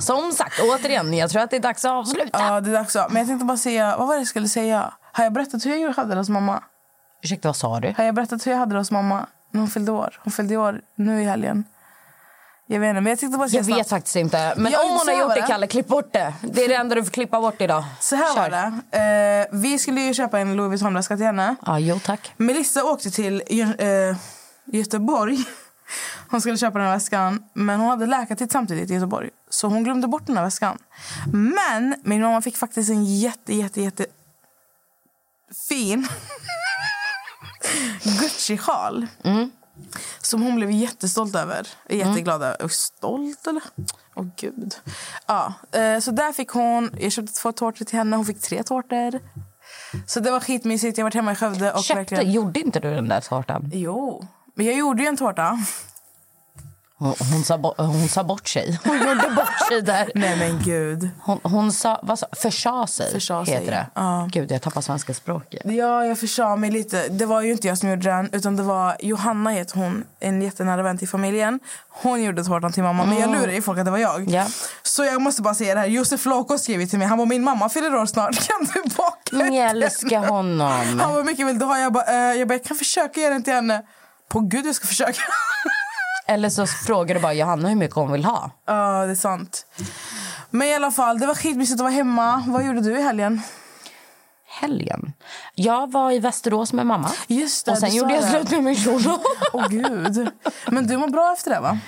Speaker 2: Som sagt, återigen, jag tror att det är dags att avsluta.
Speaker 3: Ja, det är dags att- Men jag tänkte bara säga, vad var det jag skulle säga? Har jag berättat hur jag hade det hos mamma?
Speaker 2: Ursäkta, vad sa du?
Speaker 3: Har jag berättat hur jag hade det hos mamma när hon fyllde år? Hon fyllde år nu i helgen. Jag vet inte, men jag tänkte bara säga
Speaker 2: Jag vet
Speaker 3: snabbt.
Speaker 2: faktiskt inte. Men
Speaker 3: Ja,
Speaker 2: om hon
Speaker 3: så
Speaker 2: har
Speaker 3: här
Speaker 2: gjort
Speaker 3: var
Speaker 2: det,
Speaker 3: det.
Speaker 2: Kalle, klipp bort det. Det är det enda du får klippa bort idag.
Speaker 3: Så här var det. Eh, vi skulle ju köpa en Louis Vuitton-väska till henne.
Speaker 2: Ja, jo tack.
Speaker 3: Melissa åkte till Gö- eh, Göteborg. Hon skulle köpa den här väskan, men hon hade läkartid samtidigt i Göteborg. Så hon glömde bort den här väskan. Men min mamma fick faktiskt en jätte, jätte, jätte fin Gucci-sjal. Som hon blev jättestolt över. Jätteglad över. Och Stolt, eller? Åh, gud. Ja, eh, så där fick hon... Jag köpte två tårtor till henne. Hon fick tre tårtor. Så det var skitmysigt. Jag var hemma i Skövde. Och
Speaker 2: Köpte,
Speaker 3: verkligen...
Speaker 2: gjorde inte du den där tårtan?
Speaker 3: Jo. Men jag gjorde ju en tårta.
Speaker 2: Hon, hon, sa, bo, hon sa bort sig. Hon gjorde bort sig där.
Speaker 3: Nej men gud.
Speaker 2: Hon, hon sa, vad sa, försa sig
Speaker 3: Försa sig,
Speaker 2: heter det. Gud, jag tappar svenska språket.
Speaker 3: Ja, jag försade mig lite. Det var ju inte jag som gjorde den, utan det var Johanna heter hon, en jättenära vän till familjen. Hon gjorde tårtan till mamma, men jag
Speaker 2: Mm.
Speaker 3: lurade ju folk att det var jag.
Speaker 2: Ja.
Speaker 3: Så jag måste bara säga det här. Josef Flåkå skrev till mig. Han var min mamma fyller år snart. Kan du baka
Speaker 2: Men jag
Speaker 3: den?"
Speaker 2: älskar honom.
Speaker 3: Han var mycket vill du ha? Jag bara, "Eh, jag bara, jag kan försöka göra den till henne. På gud, jag ska försöka.
Speaker 2: Eller så frågar du bara Johanna hur mycket hon vill ha.
Speaker 3: Ja, det är sant. Men i alla fall, det var skitmysigt att vara hemma. Vad gjorde du i helgen?
Speaker 2: Helgen. Jag var i Västerås med mamma.
Speaker 3: Just det,
Speaker 2: Och sen
Speaker 3: du
Speaker 2: gjorde
Speaker 3: sa
Speaker 2: jag
Speaker 3: det.
Speaker 2: slut med min kjol.
Speaker 3: Åh gud. Men du mår bra efter det va?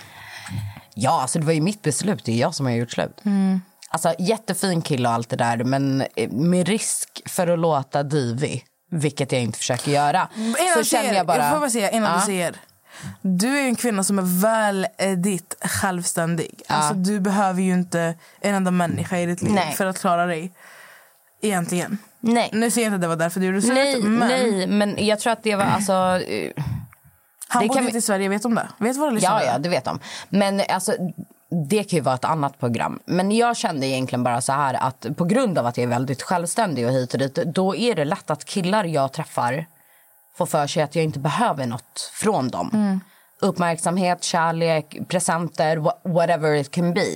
Speaker 2: Ja, alltså det var ju mitt beslut. Det är jag som har gjort slut.
Speaker 3: Mm.
Speaker 2: Alltså, jättefin kille och allt det där, men eh, med risk för att låta divig, vilket jag inte försöker göra,
Speaker 3: Innan
Speaker 2: så
Speaker 3: du
Speaker 2: känner
Speaker 3: säger-
Speaker 2: jag bara...
Speaker 3: Mm. Jag får bara säga innan
Speaker 2: Ja.
Speaker 3: du säger. Du är ju en kvinna som är väl eh, ditt självständig. Alltså, du behöver ju inte en enda människa i ditt liv
Speaker 2: Nej.
Speaker 3: för att klara dig. Egentligen.
Speaker 2: Nej.
Speaker 3: Nu säger jag inte att det var därför du gjorde slut.
Speaker 2: Nej,
Speaker 3: men
Speaker 2: nej, men jag tror att det var... Alltså, eh,
Speaker 3: Han
Speaker 2: det
Speaker 3: bodde
Speaker 2: kan vi-
Speaker 3: inte i Sverige, vet de det? Vet våra lyssnare
Speaker 2: Ja, ja, det vet de. Men alltså, det kan ju vara ett annat program. Men jag kände egentligen bara så här att på grund av att jag är väldigt självständig och hit och dit, då är det lätt att killar jag träffar får för sig att jag inte behöver något från dem.
Speaker 3: Mm.
Speaker 2: Uppmärksamhet, kärlek, presenter, wha- whatever it can be.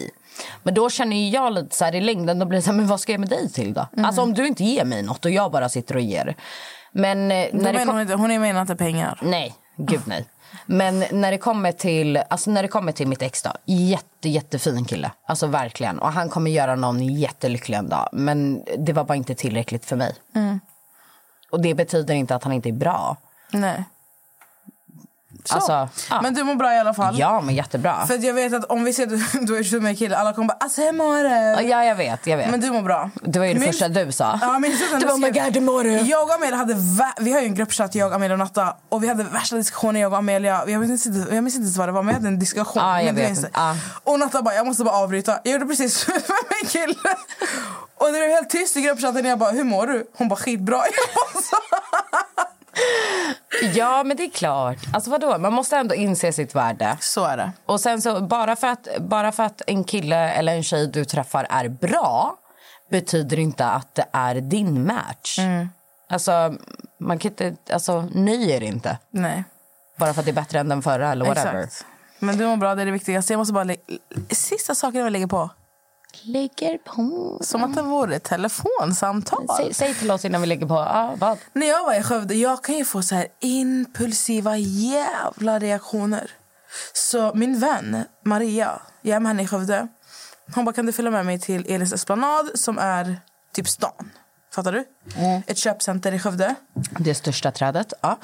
Speaker 2: Men då känner ju jag lite så här i längden, då blir det så här, men vad ska jag med dig till då?
Speaker 3: Mm.
Speaker 2: Alltså om du inte ger mig något och jag bara sitter och ger. Men eh,
Speaker 3: Då
Speaker 2: när det
Speaker 3: menar
Speaker 2: kom-
Speaker 3: hon, inte, hon är- menar inte pengar.
Speaker 2: Nej, gud nej. Men när det kommer till, alltså när det kommer till mitt ex då, jätte, jättefin kille. Alltså verkligen. Och han kommer göra någon jättelycklig en dag. Men det var bara inte tillräckligt för mig.
Speaker 3: Mm.
Speaker 2: Och det betyder inte att han inte är bra.
Speaker 3: Nej. Så.
Speaker 2: Alltså, ja.
Speaker 3: Men du mår bra i alla fall.
Speaker 2: Ja, men jättebra.
Speaker 3: För att jag vet att om vi ser att du är slut med en kille, alla kommer bara alltså hur mår du?
Speaker 2: Ja, jag vet, jag vet.
Speaker 3: Men du mår bra.
Speaker 2: Det var ju det
Speaker 3: Min-
Speaker 2: första du sa.
Speaker 3: Ja, men jag
Speaker 2: du bara, oh my god, hur mår du?
Speaker 3: Jag och Amelia hade, vä- vi har ju en gruppchatt jag, Amelia och Natta och vi hade värsta diskussioner jag och Amelia. Jag minns inte, jag minns inte vad det var men jag hade en diskussion.
Speaker 2: Ja, jag
Speaker 3: Men du
Speaker 2: vet
Speaker 3: minns
Speaker 2: inte.
Speaker 3: det. Och Natta bara jag måste bara avbryta. Jag gjorde precis slut med min kille. Och när det var helt tyst i gruppchatten jag bara “Hur mår du?” Hon bara “Skitbra”. Jag bara, så.
Speaker 2: Ja, men det är klart. Alltså vadå? Man måste ändå inse sitt värde.
Speaker 3: Så är det.
Speaker 2: Och sen så, bara för att, bara för att en kille eller en tjej du träffar är bra betyder inte att det är din match. Alltså, man kan inte... Alltså, nöj er inte.
Speaker 3: Nej.
Speaker 2: Bara för att det är bättre än den förra eller whatever.
Speaker 3: Exakt. Men du mår bra, det är det viktigaste. Jag måste bara... Lä- Sista saken jag vill lägga på.
Speaker 2: Lägger på.
Speaker 3: Som att det vore ett telefonsamtal.
Speaker 2: Säg, säg till oss innan vi lägger på. Ah, vad?
Speaker 3: När jag var i Skövde jag kan ju få så här impulsiva jävla reaktioner. Så min vän Maria, jag är med henne i Skövde. Hon bara, kan du följa med mig till Elins Esplanad som är typ stan? Fattar du? Ett köpcenter i Skövde.
Speaker 2: Det största trädet. Ja.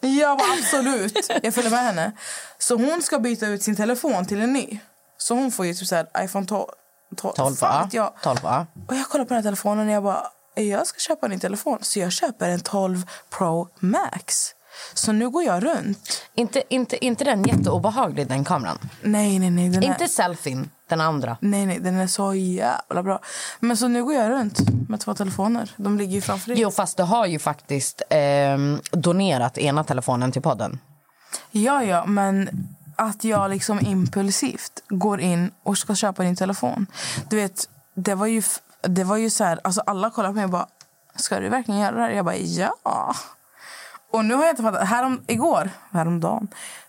Speaker 3: Jag bara, absolut. Jag följer med henne. Så hon ska byta ut sin telefon till en ny. Så hon får ju typ så här iPhone 12. 12,
Speaker 2: 12
Speaker 3: Fan
Speaker 2: A.
Speaker 3: vet jag.
Speaker 2: 12 A.
Speaker 3: Och jag kollar på den här telefonen och jag bara, jag ska köpa en ny telefon. Så jag köper en 12 Pro Max. Så nu går jag runt.
Speaker 2: Inte, inte, inte den jätteobehaglig, den kameran.
Speaker 3: Nej, nej, nej. Den är-
Speaker 2: Inte selfien, den andra.
Speaker 3: Nej, nej, den är så jävla bra. Men så nu går jag runt med två telefoner. De ligger ju framför dig.
Speaker 2: Jo, fast du har ju faktiskt ehm, donerat ena telefonen till podden.
Speaker 3: Ja, ja, men att jag liksom impulsivt går in och ska köpa din telefon. Du vet, det var ju, f- det var ju så här, alltså alla kollade på mig och bara, ska du verkligen göra det här? Jag bara, ja. Och nu har jag inte fattat, härom, igår, häromdagen,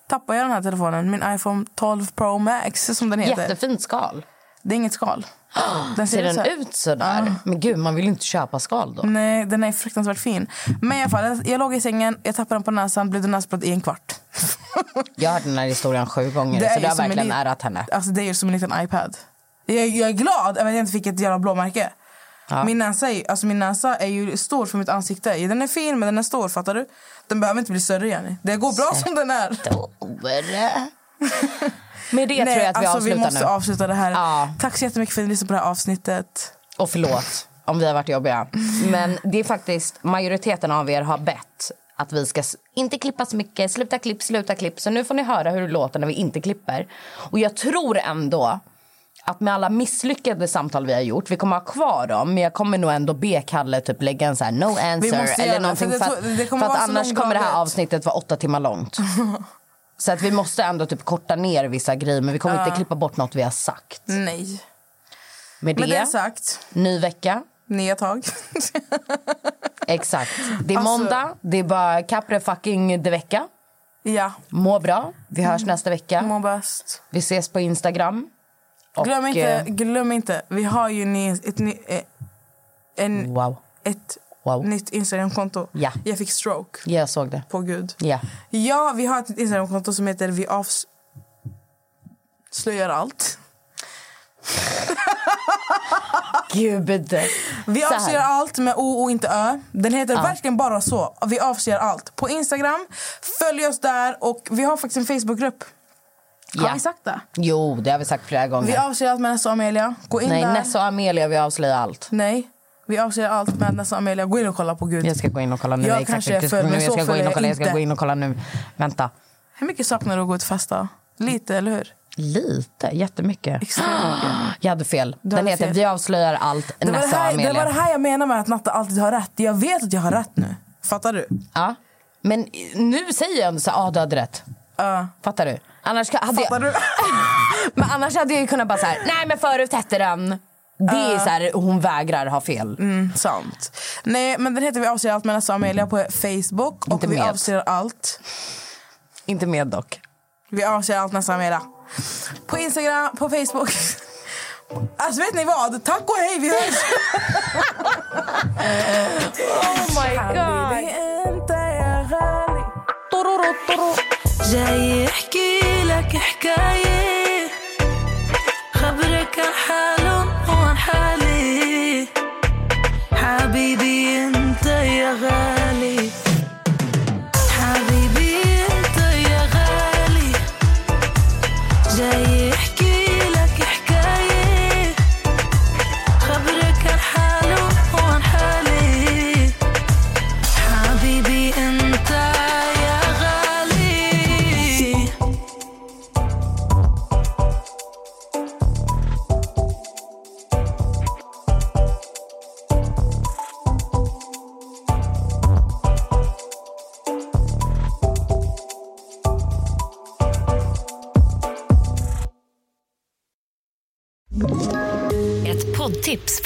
Speaker 3: tappade jag den här telefonen, min iPhone 12 Pro Max som den heter.
Speaker 2: Jättefint skal.
Speaker 3: Det är inget skal.
Speaker 2: ser den
Speaker 3: Alltså, så här-
Speaker 2: ut så där? Men gud, man vill ju inte köpa skal då.
Speaker 3: Nej, den är fruktansvärt fin. Men i alla fall, jag- jag låg i sängen, jag tappade den på näsan, blev det näsblod i en kvart.
Speaker 2: Jag har hört den här historien sju gånger, så
Speaker 3: ju
Speaker 2: du har
Speaker 3: som en
Speaker 2: verkligen
Speaker 3: li-
Speaker 2: ärat henne.
Speaker 3: Alltså, det är ju som en liten iPad. Jag, jag är glad över att jag inte fick ett jävla blåmärke.
Speaker 2: Ja.
Speaker 3: Min, näsa är, ju- alltså min näsa är ju stor för mitt ansikte. Den är fin, men den är stor. Fattar du? Den behöver inte bli större, Jenny. Det går bra som den är.
Speaker 2: Med det
Speaker 3: Nej,
Speaker 2: tror jag att vi
Speaker 3: alltså,
Speaker 2: avslutar
Speaker 3: vi måste
Speaker 2: nu.
Speaker 3: avsluta det här. Tack så jättemycket för att ni lyssnade på det här avsnittet.
Speaker 2: Och förlåt om vi har varit jobbiga. Men det är faktiskt majoriteten av er har bett att vi ska s- inte klippa så mycket. Sluta klipp, sluta klipp. Så nu får ni höra hur det låter när vi inte klipper. Och jag tror ändå att med alla misslyckade samtal vi har gjort, vi kommer ha kvar dem, men jag kommer nog ändå be Kalle typ lägga en så här no
Speaker 3: Vi
Speaker 2: answer
Speaker 3: måste
Speaker 2: eller
Speaker 3: göra-
Speaker 2: någonting
Speaker 3: för
Speaker 2: för,
Speaker 3: det tror- det
Speaker 2: att,
Speaker 3: kommer
Speaker 2: för
Speaker 3: vara
Speaker 2: att
Speaker 3: så
Speaker 2: annars
Speaker 3: lång
Speaker 2: kommer det här
Speaker 3: dagbok.
Speaker 2: avsnittet vara åtta timmar långt. Så att vi måste ändå typ korta ner vissa grejer, men vi kommer
Speaker 3: Ja.
Speaker 2: inte klippa bort något vi har sagt.
Speaker 3: Nej.
Speaker 2: Med det,
Speaker 3: Med det sagt,
Speaker 2: ny vecka.
Speaker 3: nya tag.
Speaker 2: Exakt. Det är
Speaker 3: Alltså-
Speaker 2: måndag, det är bara Capre fucking de vecka.
Speaker 3: Ja.
Speaker 2: Må bra. Vi hörs nästa vecka.
Speaker 3: Mm. Må bäst.
Speaker 2: Vi ses på Instagram. Och,
Speaker 3: glöm, inte,
Speaker 2: eh,
Speaker 3: glöm inte, vi har ju ni, ett, ny- eh, en,
Speaker 2: Wow.
Speaker 3: ett
Speaker 2: Wow.
Speaker 3: nytt Instagramkonto.
Speaker 2: Ja.
Speaker 3: Jag fick stroke.
Speaker 2: Ja, jag såg det.
Speaker 3: På Gud.
Speaker 2: Ja.
Speaker 3: Ja, vi har ett nytt Instagramkonto som heter Vi avslöjar allt.
Speaker 2: Gud.
Speaker 3: Vi
Speaker 2: Så här.
Speaker 3: avslöjar allt med O och inte Ö. Den heter
Speaker 2: Ja.
Speaker 3: verkligen bara så. Vi avslöjar allt. På Instagram, följ oss där och vi har faktiskt en Facebookgrupp. Har
Speaker 2: Ja.
Speaker 3: vi sagt det?
Speaker 2: Jo, det har vi sagt flera gånger.
Speaker 3: Vi avslöjar allt med Nessa och Amelia. Gå in
Speaker 2: Nej,
Speaker 3: där.
Speaker 2: Nessa och Amelia, vi avslöjar allt.
Speaker 3: Nej, vi avslöjar allt med Nessa och Amelia. Gå in och kolla på Gud.
Speaker 2: Jag ska gå in och kolla nu.
Speaker 3: Mm. Jag
Speaker 2: Exakt.
Speaker 3: kanske är
Speaker 2: Jag
Speaker 3: full,
Speaker 2: ska-
Speaker 3: men
Speaker 2: nu.
Speaker 3: så
Speaker 2: Jag ska gå
Speaker 3: full är
Speaker 2: in och
Speaker 3: jag
Speaker 2: kolla. Jag ska
Speaker 3: inte.
Speaker 2: gå in och kolla nu. Vänta.
Speaker 3: Hur mycket saknar du att gå ut och festa? Lite, eller hur?
Speaker 2: Lite, jättemycket. Jag hade fel. Den
Speaker 3: hade
Speaker 2: heter
Speaker 3: fel.
Speaker 2: Vi avslöjar allt,
Speaker 3: Det var det,
Speaker 2: Nessa och
Speaker 3: här, det
Speaker 2: alltså, Amelia.
Speaker 3: var det här jag menar med att Natta alltid har rätt. Jag vet att jag har rätt nu. Fattar du?
Speaker 2: Ja. Men nu säger jag ändå så här, ah, du hade rätt. Fattar du? Annars ka- hade jag... men annars hade jag ju kunnat bara så här, nej men förut hette den. Det är
Speaker 3: Ja.
Speaker 2: så här, hon vägrar ha fel.
Speaker 3: Mm, sant. Nej, men den heter Vi avslöjar allt med Nessa och Amelia på Facebook. Och
Speaker 2: Inte
Speaker 3: vi
Speaker 2: med.
Speaker 3: avslöjar allt.
Speaker 2: Inte med dock.
Speaker 3: Vi avslöjar allt Nessa och Amelia. På Instagram, på Facebook. Alltså vet ni vad? Tack och hej, vi hörs!
Speaker 1: Oh my god. جاي يحكي لك حكاية خبرك عن حالهم وعن حالي حبيبي انت يا غالي حبيبي انت يا غالي جاي يحكي لك حكاية خبرك عن حالهم وعن حالي حبيبي انت يا غالي poddtips